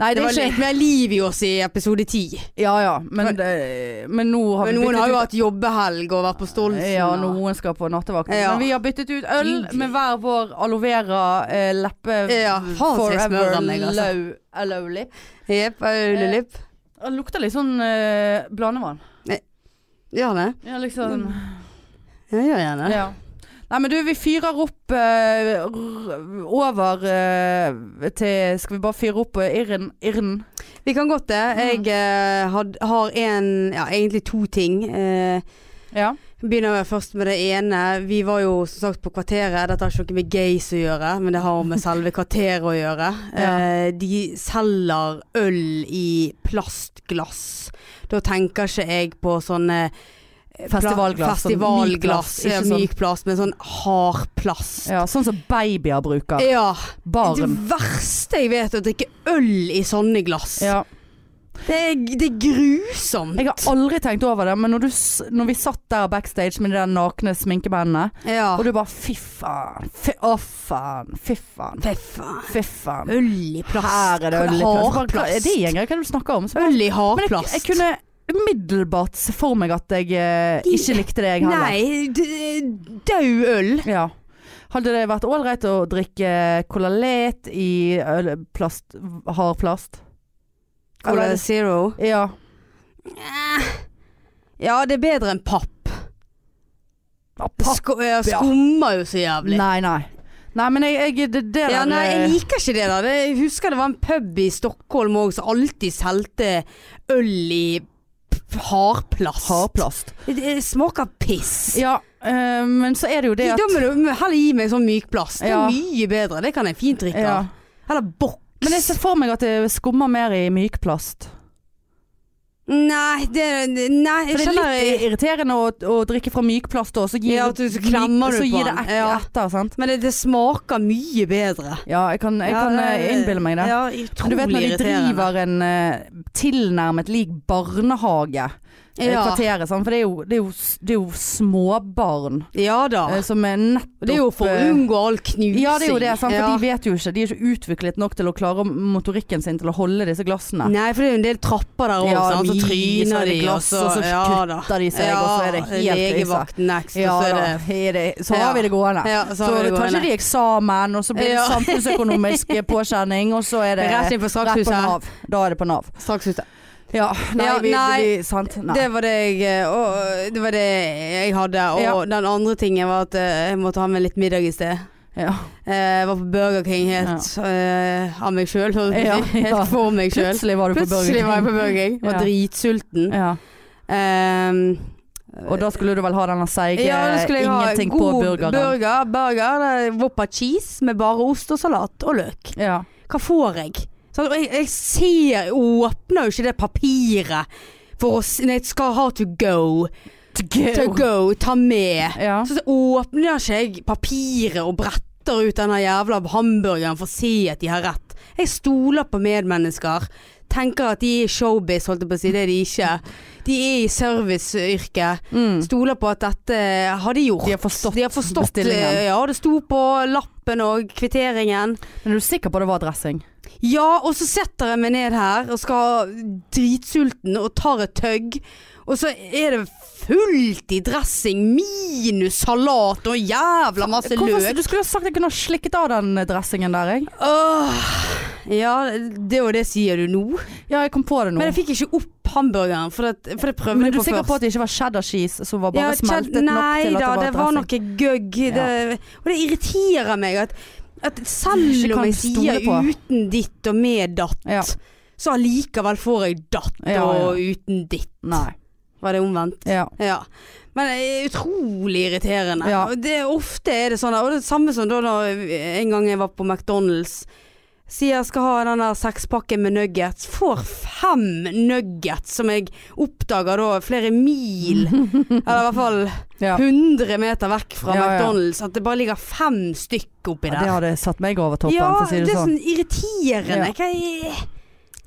S2: Nei,
S1: Det
S2: det
S1: var
S2: er
S1: litt
S2: ikke
S1: mer liv i oss i episode ti.
S2: Ja ja, men, det, men nå har vi
S1: Men noen
S2: byttet
S1: har jo
S2: ut-
S1: hatt jobbehelg og vært på Stolsen.
S2: Ja,
S1: og-
S2: noen skal på nattevakt.
S1: Ja.
S2: Men vi har byttet ut øl
S1: Nydelig.
S2: med hver vår aloe vera eh, leppe
S1: Ja, faen, så jeg smører
S2: forever
S1: den, jeg, altså.
S2: low aloe lip.
S1: Jepp,
S2: eh,
S1: Aulelip.
S2: Det lukter litt sånn eh, blandevann.
S1: Gjør det.
S2: Ja, liksom.
S1: Mm. Ja, gjør gjerne det.
S2: Ja. Nei, men du, vi fyrer opp eh, r- over eh, til Skal vi bare fyre opp eh, irren? irren?
S1: Vi kan godt det.
S2: Mm.
S1: Jeg eh, had, har en Ja, egentlig to ting. Eh,
S2: Ja.
S1: begynner jeg først med det ene. Vi var jo som sagt på kvarteret. Dette har ikke noe med gays å gjøre, men det har med selve kvarteret å gjøre.
S2: Ja.
S1: Eh, de selger øl i plastglass. Da tenker ikke jeg på sånne eh, pla-
S2: Festivalglass, sånn
S1: Festivalglass.
S2: myk plast,
S1: ja,
S2: ikke sånn-
S1: myk plast, men sånn hard plast.
S2: ja. Sånn som babyer bruker.
S1: Ja.
S2: Barn.
S1: Det verste jeg vet, er å drikke øl i sånne glass.
S2: Ja.
S1: Det, er, det er grusomt.
S2: Jeg har aldri tenkt over det, men når, du, s- når vi satt der backstage med de der nakne sminkemennene,
S1: Ja.
S2: og du bare fy faen, fy å, faen, fy faen,
S1: Fy faen.
S2: fy faen.
S1: Øl i plast.
S2: Her er det øl i plast. Hva- Hva er det
S1: Hardplast.
S2: egentlig? Hva er det du snakker om? Så bare-
S1: Øl i
S2: Men jeg,
S1: hardplast.
S2: jeg kunne umiddelbart se for meg at jeg eh,
S1: De-
S2: ikke likte det, jeg heller.
S1: Nei, d- død øl.
S2: Ja. Hadde det vært ålreit å drikke colalet i øl, plast, hard plast? Eller-
S1: Cola Zero.
S2: Ja.
S1: Ja, det er bedre enn papp.
S2: Ja, papp.
S1: Sko ja, skummer jo så jævlig.
S2: Nei, nei. Nei, men jeg, jeg det, det
S1: Ja,
S2: der,
S1: nei,
S2: eh,
S1: jeg liker ikke det der. Det, jeg husker det var en pub i Stockholm òg som alltid solgte øl i p- hardplast.
S2: Hardplast.
S1: Det, det smaker piss.
S2: Ja, eh, men så er det jo det at
S1: Da må du heller gi meg sånn myk plast. Det er
S2: Ja.
S1: mye bedre. Det kan jeg fint drikke.
S2: ja.
S1: av. Eller boks.
S2: Men jeg ser for meg at det skummer mer i mykplast.
S1: Nei, det Nei, jeg
S2: For det
S1: skjønner
S2: er litt irriterende å, å drikke fra mykplast også, så gir,
S1: Ja, at du- så klemmer du
S2: så
S1: på
S2: gir det
S1: den.
S2: ek
S1: Ja.
S2: etter, sant?
S1: Men det, det smaker mye bedre.
S2: Ja, jeg kan, jeg
S1: Ja,
S2: kan eh,
S1: det-
S2: innbille meg det.
S1: Ja,
S2: Men
S1: utrolig
S2: Du vet når de
S1: irriterende.
S2: driver en eh, tilnærmet lik barnehage eh,
S1: Ja.
S2: kvarteret, sant? for det er jo, det er jo, s- det er jo småbarn
S1: Ja da.
S2: eh, som er nettopp
S1: Ah. Det er jo for å
S2: eh,
S1: unngå all knusing.
S2: Ja, det er jo det, sant? for
S1: Ja.
S2: de vet jo ikke. De er ikke utviklet nok til å klare motorikken sin til å holde disse glassene.
S1: Nei, for det er jo en del trapper der òg,
S2: Ja,
S1: så
S2: mye, så er
S1: tryner
S2: det
S1: de,
S2: glass, og så
S1: ja da.
S2: kutter de seg, og så er det helt
S1: legevakt next,
S2: Ja,
S1: og så er
S2: da,
S1: det
S2: er det, så har vi det gående.
S1: ja,
S2: Så,
S1: har vi det
S2: tar
S1: gående.
S2: ikke de eksamen, og så blir det
S1: Ja.
S2: samfunnsøkonomisk påkjenning, og så er det
S1: Rett inn på
S2: rett på
S1: strakshuset.
S2: Nav. Da er det på Nav.
S1: Strakshuset.
S2: Ja, nei,
S1: Ja,
S2: vi,
S1: nei,
S2: vi, sant? Nei.
S1: Det var det jeg eh, og, Det var det jeg hadde. Og
S2: Ja.
S1: den andre tingen var at eh, jeg måtte ha med litt middag i sted.
S2: ja.
S1: Eh, Jeg var på Burger King helt eh, av meg sjøl.
S2: Ja, ja.
S1: Helt for meg sjøl.
S2: Plutselig var du på Burger
S1: Plutselig var jeg
S2: King.
S1: på Burger King. Var
S2: Ja.
S1: dritsulten.
S2: Ja.
S1: Ehm,
S2: Og da skulle du vel ha denne seige
S1: ja, da skulle jeg ha
S2: ingenting på
S1: god
S2: burgeren.
S1: burger. burger det er Woppa cheese med bare ost og salat og løk.
S2: ja.
S1: Hva får jeg? Så jeg, jeg ser jeg Åpner jo ikke det papiret for å s- Nei, jeg skal ha to go. To go, ta med.
S2: Ja.
S1: Så, så åpner ikke jeg papiret og bretter ut denne jævla hamburgeren for å se at de har rett. Jeg stoler på medmennesker. Tenker at de er i showbiz, holdt jeg på å si. Det er de ikke. De er i serviceyrket.
S2: Mm.
S1: Stoler på at dette har de gjort.
S2: De har forstått
S1: De har forstått
S2: bestillingen.
S1: eh, Ja, det sto på lappen og kvitteringen.
S2: Men er du sikker på det var dressing?
S1: Ja, og så setter jeg meg ned her og skal dritsulten og tar et tøgg. Og så er det fullt i dressing minus salat og jævla masse løk.
S2: du skulle ha sagt jeg kunne ha slikket av den dressingen der, jeg.
S1: Åh, ja, det er jo det sier du nå.
S2: Ja, jeg kom på det nå.
S1: Men jeg fikk ikke opp hamburgeren, for det, for det prøvde
S2: Men
S1: jeg
S2: er du
S1: på
S2: sikker
S1: først.
S2: på at det ikke var cheddar cheese som var bare
S1: Ja,
S2: smeltet
S1: Chad-
S2: nok til at
S1: Nei da,
S2: det var
S1: det var
S2: dressing?
S1: noe gøgg. Det, og det irriterer meg at, at
S2: Ikke
S1: selv om
S2: kan
S1: jeg
S2: stole
S1: sier
S2: på.
S1: uten ditt og med datt,
S2: Ja.
S1: så allikevel får jeg datt
S2: Ja, ja.
S1: og uten ditt.
S2: Nei.
S1: Var det omvendt?
S2: Ja.
S1: Ja. Men det er utrolig irriterende.
S2: Ja.
S1: Og det, ofte er det sånn, og det er samme som da, da en gang jeg var på McDonald's. Sier jeg skal ha den der sekspakken med nuggets. Får fem nuggets som jeg oppdager da flere mil. Eller i hvert fall
S2: Ja.
S1: 100 meter vekk fra
S2: Ja, ja.
S1: McDonald's. At det bare ligger fem stykk oppi
S2: ja,
S1: der.
S2: det
S1: Ja,
S2: hadde satt meg over toppen, for å si
S1: det,
S2: det,
S1: er
S2: sånn.
S1: sånn irriterende.
S2: Ja.
S1: Hva er-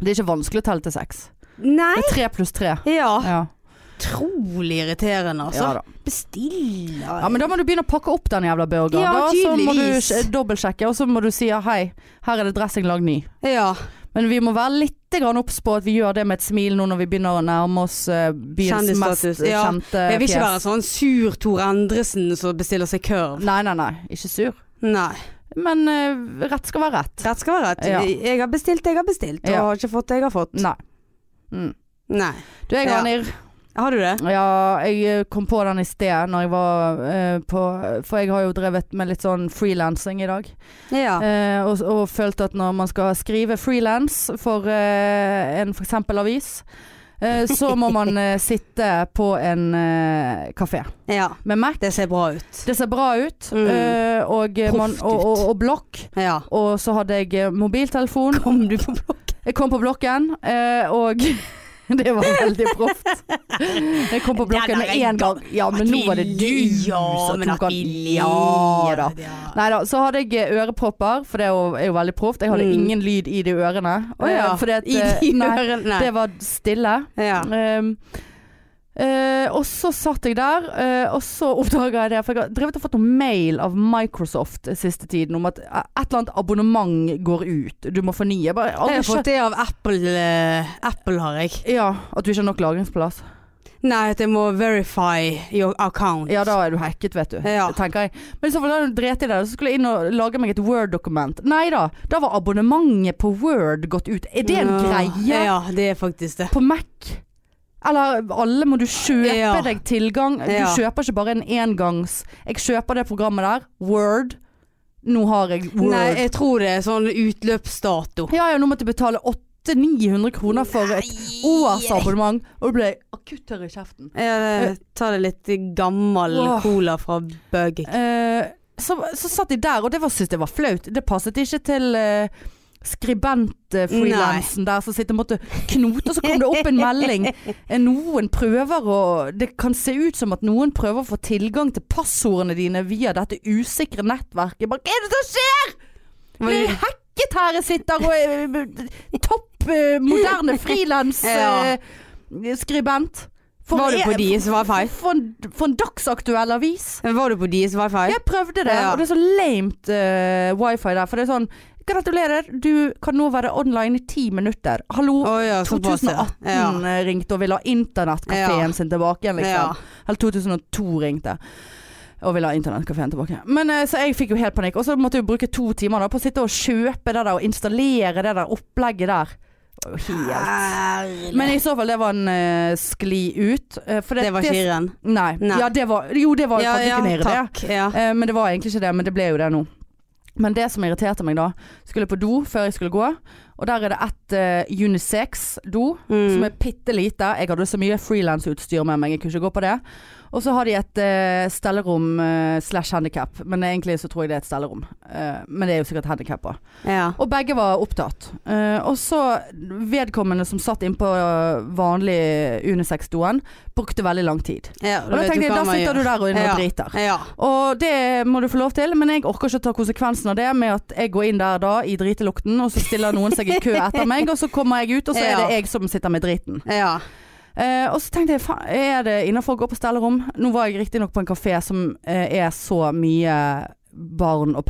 S2: Det er ikke vanskelig å telle til seks.
S1: Nei.
S2: Det er tre pluss tre.
S1: Ja.
S2: Ja.
S1: Utrolig irriterende, altså.
S2: ja da.
S1: Bestill.
S2: Ja, men da må du begynne å pakke opp den jævla burgeren.
S1: Ja,
S2: da, så må du
S1: tydeligvis.
S2: sj- dobbeltsjekke, og så må du si ja, hei, her er det dressing lag ny.
S1: ja.
S2: Men vi må være litt grann obs på at vi gjør det med et smil nå når vi begynner å nærme oss eh, byens mest eh,
S1: Kjendisstatus. Ja,
S2: kjente
S1: Jeg vil ikke
S2: fjes.
S1: være sånn sur Tor Endresen som bestiller seg kurv.
S2: Nei, nei, nei. Ikke sur.
S1: Nei.
S2: Men eh, rett skal være rett.
S1: Rett skal være rett.
S2: Ja.
S1: Jeg har bestilt, jeg har bestilt. Og
S2: Ja.
S1: har ikke fått det jeg har fått.
S2: Nei. Mm.
S1: Nei.
S2: Du, jeg
S1: Ja.
S2: har nirr.
S1: Har du det?
S2: Ja, jeg eh, kom på den i sted når jeg var eh, på For jeg har jo drevet med litt sånn frilansing i dag.
S1: Ja.
S2: Eh, og, og følte at når man skal skrive frilans for eh, en f.eks. avis, eh, så må man eh, sitte på en eh, kafé
S1: ja.
S2: med Mac.
S1: Det ser bra ut.
S2: Det ser bra ut.
S1: Mm.
S2: eh, og, eh, man,
S1: Proft
S2: og,
S1: ut.
S2: og, og blokk.
S1: Ja.
S2: Og så hadde jeg eh, mobiltelefon.
S1: Kom du på blokk?
S2: Jeg kom på blokken, eh, og det var veldig proft. Jeg kom på
S1: Det
S2: blokken
S1: der
S2: med
S1: er
S2: én gang. Ja, men nå var det du som
S1: men at
S2: tok den.
S1: vi
S2: Ja da.
S1: ler, ja.
S2: Nei da, så hadde jeg eh, ørepropper, for det er jo- er jo veldig proft. Jeg hadde
S1: Mm.
S2: ingen lyd i de ørene.
S1: Å ja.
S2: Eh, Fordi at,
S1: I
S2: eh,
S1: de
S2: nei,
S1: ørene. Nei.
S2: det var stille.
S1: Ja.
S2: Um, eh, og så satt jeg der, eh, og så oppdaga jeg det. For jeg har drevet og fått noe mail av Microsoft siste tiden om at eh, et eller annet abonnement går ut. Du må fornye. Jeg bare, jeg har
S1: Jeg
S2: aldri
S1: har fått det av Apple. eh, Apple har jeg.
S2: skjønt- ja, at du ikke har nok lagringsplass.
S1: Nei, at jeg må verify your account.
S2: Ja, da er du hacket, vet du.
S1: Ja.
S2: Tenker jeg. Men i så fall hadde du dreit i det, og så skulle jeg inn og lage meg et Word-dokument. Nei da, da var abonnementet på Word gått ut. Er det en
S1: Ja.
S2: greie
S1: Ja, det er faktisk det.
S2: på Mac? Eller alle må du kjøpe
S1: Ja.
S2: deg tilgang. Du
S1: Ja.
S2: kjøper ikke bare en engangs. Jeg kjøper det programmet der. Word. Nå har jeg Word.
S1: Nei, jeg tror det er sånn utløpsdato.
S2: Ja, ja, nå måtte jeg betale 800-900 kroner for et årsabonnement, og det ble akutt tørr i kjeften.
S1: Jeg tar det litt gammel
S2: Åh.
S1: cola fra Burger King.
S2: Eh, så, så satt de der, og det var- syntes jeg var flaut. Det passet ikke til eh, skribentfrilansen der som sitter og måtte knote, og så kom det opp en melding. Eh, Noen prøver å Det kan se ut som at noen prøver å få tilgang til passordene dine via dette usikre nettverket. Bare, Hva er det som skjer?! Det er hacket her jeg sitter og er eh, topp eh, moderne
S1: Ja.
S2: frilansskribent. skribent
S1: Var du på deres wifi?
S2: For, en- for en dagsaktuell avis.
S1: Var du på deres wifi?
S2: Jeg prøvde det,
S1: Ja.
S2: og det er så lamet eh, wifi der. For det er sånn Gratulerer, du kan nå være online i ti minutter. Hallo,
S1: Å ja, såpass, ja.
S2: 2018 ringte og ville ha internettkafeen
S1: Ja.
S2: sin tilbake igjen, liksom. Eller 2002 ringte. Og ville ha internettkafeen tilbake. Men eh, Så jeg fikk jo helt panikk. Og så måtte jeg jo bruke to timer da, på å sitte og kjøpe det der og installere det der opplegget der. Det var jo Helt.
S1: Herlig.
S2: Men i så fall, det var en eh, skli ut. eh, for
S1: det var kirren.
S2: Nei.
S1: Nei.
S2: Ja, det var, jo, det var jo faktisk en irriterende.
S1: takk. Ja.
S2: Eh, Men det var egentlig ikke det, men det ble jo det nå. Men det som irriterte meg da, skulle på do før jeg skulle gå, og der er det ett eh, unisex-do som
S1: Mm.
S2: er bitte lite. Jeg hadde så mye frilansutstyr med meg, jeg kunne ikke gå på det. Og så har de et eh, stellerom eh, slash handikap, men egentlig så tror jeg det er et stellerom. Eh, men det er jo sikkert handikap òg.
S1: Ja.
S2: Og begge var opptatt. Eh, og så vedkommende som satt innpå eh, vanlig unisex-doen, brukte veldig lang tid.
S1: Ja,
S2: Og da tenkte jeg, da sitter du der og, og
S1: Ja.
S2: driter.
S1: Ja.
S2: Og det må du få lov til, men jeg orker ikke å ta konsekvensen av det med at jeg går inn der da i dritelukten, og så stiller noen seg i kø etter meg, og så kommer jeg ut, og så er
S1: Ja.
S2: det jeg som sitter med driten.
S1: ja.
S2: Eh, og så tenkte jeg, faen, er det innafor å gå på stellerom? Nå var jeg riktignok på en kafé som eh, er så mye barn og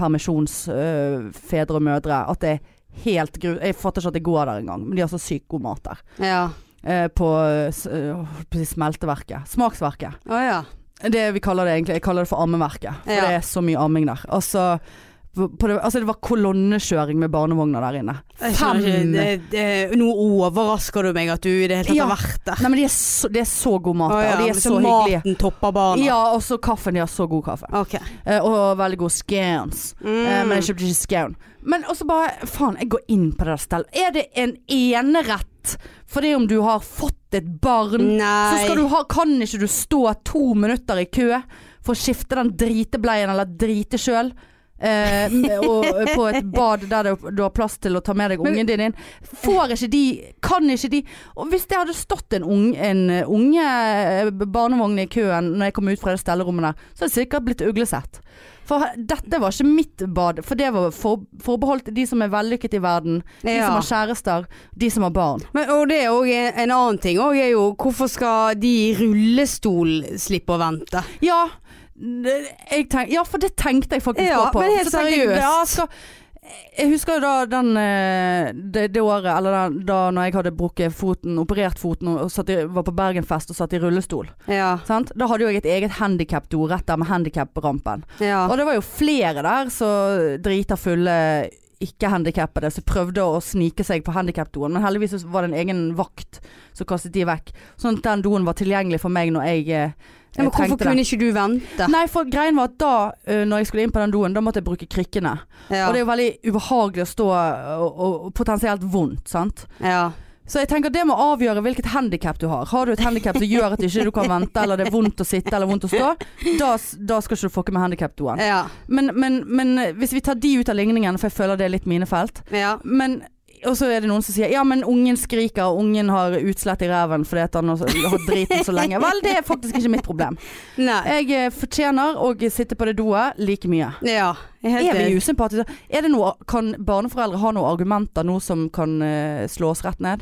S2: permisjonsfedre og mødre at det er helt gru... Jeg fatter ikke at jeg går der engang, men de har så sykt god mat der.
S1: Ja.
S2: Eh, på, s- eh, på smelteverket. Smaksverket.
S1: Å ja.
S2: Det vi kaller det egentlig, jeg kaller det for ammeverket. For
S1: Ja.
S2: det er så mye amming der. Altså, på det, altså det var kolonnekjøring med barnevogner der inne.
S1: Jeg skjønner ikke. Det, det, nå overrasker du meg at du i det hele tatt
S2: Ja.
S1: har vært der.
S2: Nei, men de er så, det er så god mat
S1: Å
S2: der,
S1: ja,
S2: og de
S1: men
S2: er så hyggelige.
S1: Maten topper barna.
S2: Ja, og så kaffen. De har så god kaffe.
S1: Ok.
S2: Eh, og veldig god scones. Eh,
S1: Mm.
S2: men jeg kjøpte ikke scaun. Men også bare Faen, jeg går inn på det der stellet. Er det en enerett for det om du har fått et
S1: Mm,
S2: barn?
S1: Nei.
S2: Så skal du ha, kan ikke du stå to minutter i kø for å skifte den dritebleien eller drite sjøl? Eh, og på et bad der det- du har plass til å ta med deg ungen din inn. Får ikke de, kan ikke de Og hvis det hadde stått en, ung, en eh, unge eh, barnevogn i køen når jeg kom ut fra det stellerommet der, så hadde jeg sikkert blitt uglesett. For he- dette var ikke mitt bad, for det var for, forbeholdt de som er vellykket i verden. De
S1: Ja.
S2: som har kjærester, de som har barn.
S1: Men, og det er òg en en annen ting. Og er jo, hvorfor skal de i rullestol slippe å vente?
S2: Ja, det- jeg tenk, ja, for det tenkte jeg faktisk
S1: Ja,
S2: også på.
S1: men helt
S2: Så tenkte jeg,
S1: seriøst.
S2: ja, skal, Jeg husker jo da den, eh, det, det året, eller den, da når jeg hadde brukket foten, operert foten og satt i, var på Bergenfest og satt i rullestol.
S1: Ja.
S2: Sant? Da hadde jo jeg et eget handikapdo rett der med handikaprampen.
S1: ja.
S2: Og det var jo flere der så drita fulle ikke-handikappede som prøvde å snike seg på handikapdoen, men heldigvis så var det en egen vakt som kastet de vekk. Sånn at den doen var tilgjengelig for meg når jeg eh,
S1: Ja, Men hvorfor
S2: trengte den.
S1: kunne ikke du vente?
S2: Nei, for greien var at da, eh, når jeg skulle inn på den doen, da måtte jeg bruke krykkene.
S1: Ja.
S2: Og det er jo veldig ubehagelig å stå eh, og, og, og potensielt vondt, sant.
S1: ja.
S2: Så jeg tenker det må avgjøre hvilket handikap du har. Har du et handikap som gjør at ikke du kan vente, eller det er vondt å sitte eller vondt å stå, da, s- da skal ikke du fucke med handikapdoen.
S1: Ja.
S2: Men, men, men eh, hvis vi tar de ut av ligningen, for jeg føler det er litt mine felt.
S1: ja.
S2: Men og så er det noen som sier ja, men ungen skriker, og ungen har utslett i ræven fordi at han har har driten så lenge. Vel, det er faktisk ikke mitt problem.
S1: Nei.
S2: Jeg eh, fortjener å sitte på det doet like mye.
S1: Ja. Jeg er
S2: Er
S1: helt
S2: vi
S1: enig.
S2: usympatiske? Er det noe, kan barneforeldre ha noen argumenter nå som kan eh, slås rett ned?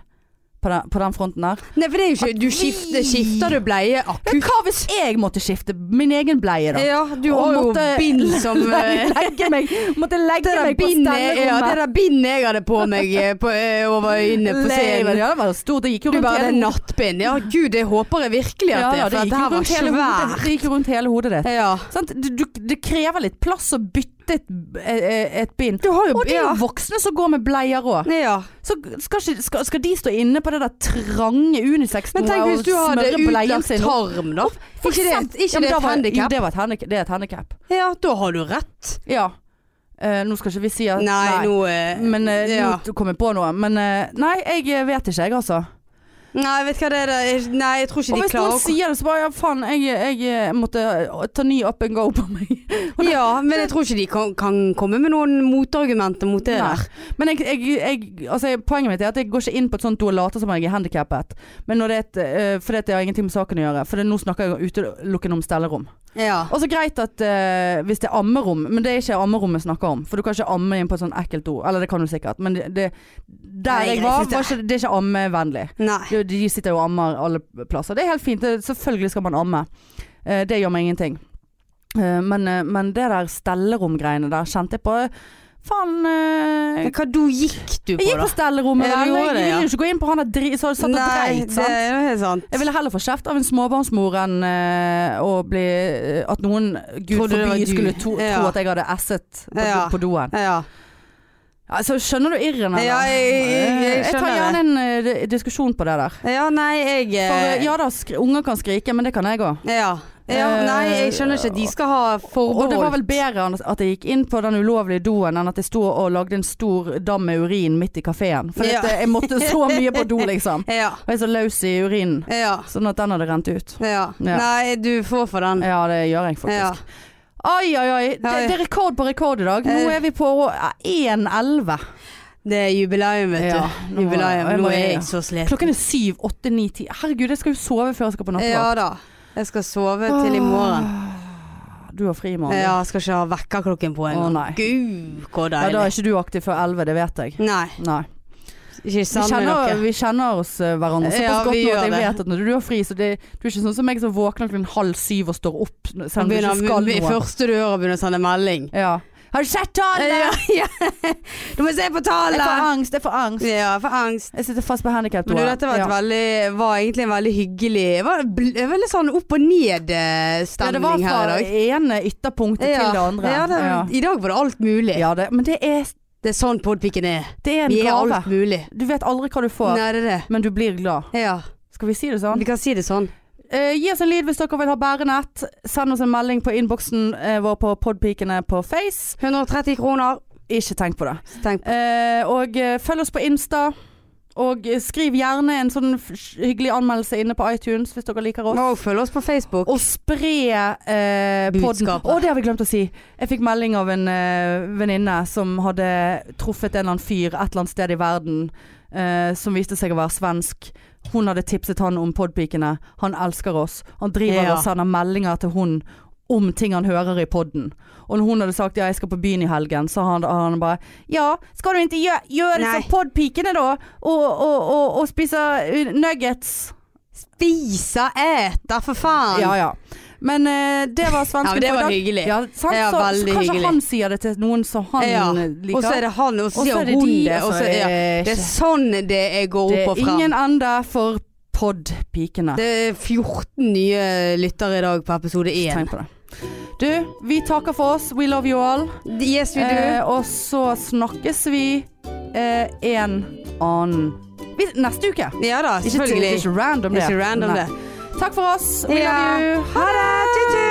S2: På den, på den fronten der?
S1: Nei, for det er jo ikke Du skifter, skifter du bleie
S2: Men
S1: akutt.
S2: hva hvis jeg måtte skifte min egen bleie, da?
S1: Ja, du har
S2: Og
S1: jo
S2: måtte-
S1: bind som eh,
S2: Legge meg, måtte legge
S1: Det der
S2: meg på
S1: bindet ja, det
S2: stellerommet.
S1: der bindet jeg hadde på meg eh, på, eh, over øynene på
S2: Leiven,
S1: scenen.
S2: ja, det var stort. Det gikk jo
S1: Du
S2: rundt
S1: bare, det er
S2: hele hodet.
S1: nattbind. Ja, gud, det håper jeg virkelig at
S2: Ja,
S1: det
S2: ja,
S1: er, for
S2: det
S1: dette
S2: gikk jo
S1: her var
S2: rundt hele hodet.
S1: svært.
S2: Det gikk jo rundt hele hodet ditt.
S1: Ja.
S2: Sant? Du, du, det krever litt plass å bytte et, eh, et bind.
S1: Du har jo
S2: Og det er jo voksne som går med bleier òg.
S1: Ja.
S2: Så skal, ikke, skal, skal de stå inne på det der trange
S1: Men
S2: unisex-noe
S1: tenk hvis
S2: og
S1: du hadde
S2: smøre på leien
S1: utlagt
S2: sin?
S1: tarm, da.
S2: For
S1: Ikke det,
S2: eksempel-
S1: ikke
S2: men
S1: det
S2: da
S1: et
S2: var- Jo,
S1: handikap?
S2: det, var et handicap. det er et handikap.
S1: Ja, da har du rett.
S2: Ja. Eh, nå skal ikke vi si at
S1: Nei, nå eh,
S2: Men eh,
S1: ja.
S2: nå kom jeg på noe. Men eh, nei, jeg vet ikke, jeg altså.
S1: Nei, vet du hva det er? Jeg- Nei, jeg tror
S2: Og
S1: ikke de
S2: hvis noen
S1: klarer å
S2: sier det, så bare ja, faen, jeg, jeg eh, måtte eh, ta ny up and go på meg.
S1: Ja, men jeg tror ikke de kan, kan komme med noen motargumenter mot det
S2: Nei.
S1: der.
S2: Men jeg, jeg, jeg, altså, jeg- poenget mitt er at jeg går ikke inn på et sånt do og later som om jeg er handikappet. Men når det er et, eh, fordi at det har ingenting med saken å gjøre. For det, nå snakker jeg utelukkende om stellerom.
S1: Ja.
S2: Og så greit at eh, hvis det er ammerom, men det er ikke ammerom jeg snakker om. For du kan ikke amme inn på et sånt ekkelt do. Eller det kan du sikkert, men det, det, der
S1: Nei,
S2: jeg
S1: jeg
S2: var,
S1: synes det.
S2: var ikke, det er ikke ammevennlig.
S1: Nei.
S2: De, de sitter jo og ammer alle plasser. Det er helt fint. Det, selvfølgelig skal man amme. Eh, det gjør meg ingenting. Eh, men, eh, men det der stelleromgreiene der kjente jeg på Faen eh,
S1: Men Hva do gikk du
S2: Jeg
S1: på,
S2: gikk
S1: da?
S2: på stellerommet.
S1: Ja,
S2: men
S1: du
S2: jeg
S1: gjorde det,
S2: ville
S1: ja.
S2: jo ikke gå inn på han der dri- som satt og dreit.
S1: det
S2: sant?
S1: er jo helt sant.
S2: Jeg ville heller få kjeft av en småbarnsmor enn eh, å bli eh, At noen eh, gud
S1: Trodde det var
S2: forbi
S1: du.
S2: skulle to, tro
S1: Ja.
S2: at jeg hadde esset på,
S1: Ja.
S2: på doen.
S1: Ja.
S2: Altså, skjønner du irren? eller?
S1: Ja, jeg- jeg- jeg
S2: Eh, tar
S1: skjønner
S2: gjerne en eh, di- diskusjon på det der.
S1: ja, nei, jeg eh,
S2: For eh, ja da, skri, unger kan skrike, men det kan jeg òg.
S1: Ja. ja.
S2: Eh,
S1: Nei, jeg skjønner ikke. De skal ha
S2: Og det var
S1: forbehold.
S2: vel bedre enn at jeg gikk inn på den ulovlige doen enn at jeg sto og lagde en stor dam med urin midt i kafeen. For
S1: Ja.
S2: at, eh, jeg måtte så mye på do, liksom.
S1: Ja.
S2: Og jeg er så løs i urinen.
S1: Ja.
S2: Sånn at den hadde rent ut.
S1: ja.
S2: Ja.
S1: Nei, du får for den.
S2: Ja, det gjør jeg faktisk.
S1: Ja.
S2: Oi, oi, oi. Det,
S1: Oi.
S2: det er rekord på rekord i dag. Nå
S1: Eh.
S2: er vi på ja, 1.11.
S1: Det er jubileum, vet
S2: Ja,
S1: du.
S2: nå-
S1: Jubileum.
S2: jeg må-
S1: Nå er jeg så sliten.
S2: Klokken er 7, 8, 9, 10. Herregud, jeg skal jo sove før jeg skal på
S1: Ja
S2: nattevakt.
S1: da. Jeg skal sove til i morgen.
S2: Ah, Du har fri i Ah. morgen.
S1: Ja, jeg skal ikke ha vekkerklokken på
S2: Å,
S1: engang.
S2: nei.
S1: Gud, hvor
S2: Ja, da er
S1: deilig.
S2: ikke du aktiv før 11, det vet jeg.
S1: Nei,
S2: Nei.
S1: ikke
S2: Vi
S1: sammen med
S2: kjenner,
S1: dere.
S2: vi kjenner oss eh, hverandre såpass
S1: Ja,
S2: godt
S1: vi
S2: nå at
S1: gjør
S2: jeg
S1: det.
S2: vet at når du har fri, så det, du er ikke sånn som meg som våkner klokken halv syv og står opp selv om du ikke skal
S1: I
S2: noe.
S1: første døra begynner å sende melding.
S2: Ja. Har du sett tallet?
S1: Ja, ja. Du må se på
S2: Jeg får
S1: tallet!
S2: angst, jeg får angst.
S1: Ja, for angst.
S2: Jeg sitter fast på handikap.
S1: Men du, dette var, et veldig, var egentlig en veldig hyggelig Det var bl- det var litt sånn opp og
S2: Ja, det var
S1: ned-stemning her i
S2: fra
S1: dag.
S2: det ene ytterpunktet til det andre.
S1: Ja, det,
S2: Ja.
S1: I dag var det alt mulig.
S2: Ja, det, men det er,
S1: Det er sånn podpiken er.
S2: det er en
S1: Vi er
S2: gave.
S1: alt mulig.
S2: Du vet aldri hva du får,
S1: Nei, det er det.
S2: men du blir glad.
S1: Ja.
S2: Skal vi si det sånn?
S1: Vi kan si det sånn.
S2: Eh, gi oss en lyd hvis dere vil ha bærenett. Send oss en melding på innboksen eh, vår på Podpikene på Face.
S1: 130 kroner.
S2: Ikke tenk på det.
S1: Så tenk på
S2: Eh, og eh, følg oss på Insta. Og eh, skriv gjerne en sånn f- hyggelig anmeldelse inne på iTunes hvis dere liker oss.
S1: Og følg oss på Facebook.
S2: Og spre eh, podden.
S1: Budskapet.
S2: Å, det har vi glemt å si. Jeg fikk melding av en eh, venninne som hadde truffet en eller annen fyr et eller annet sted i verden eh, som viste seg å være svensk. Hun hadde tipset han om podpikene. Han elsker oss. Han driver
S1: Ja.
S2: og sender meldinger til hun om ting han hører i podden. Og når hun hadde sagt ja, jeg skal på byen i helgen, så han, han bare ja, skal du ikke gjøre, gjøre
S1: Nei.
S2: som podpikene da? Og, og, og, og spise eh, nuggets?
S1: Spise, ete, for faen!
S2: Ja, ja. Men eh, det var
S1: Ja,
S2: svensken
S1: men det
S2: for i
S1: var
S2: dag.
S1: hyggelig.
S2: Ja, sant?
S1: Ja,
S2: så, så
S1: veldig
S2: kanskje
S1: hyggelig.
S2: han sier det til noen som han
S1: Ja.
S2: liker.
S1: Og så er det han, og så
S2: Og så
S1: sier
S2: er det
S1: hun
S2: de,
S1: det. Og
S2: og
S1: så,
S2: så er
S1: ja.
S2: det
S1: Det er sånn det jeg går
S2: Det
S1: opp
S2: er
S1: og frem.
S2: ingen ende for podpikene.
S1: Det er 14 nye lyttere i dag på episode 1.
S2: Tenk på det. Du, vi takker for oss. We love you all.
S1: Yes, we do.
S2: Eh, og så snakkes vi eh, en annen vi, Neste uke.
S1: ja da,
S2: Ikke,
S1: selvfølgelig.
S2: ikke random, det.
S1: Ikke random,
S2: Nei.
S1: det.
S2: Takk for oss. We
S1: Ja.
S2: love you. Ha det!
S1: Tju, tju.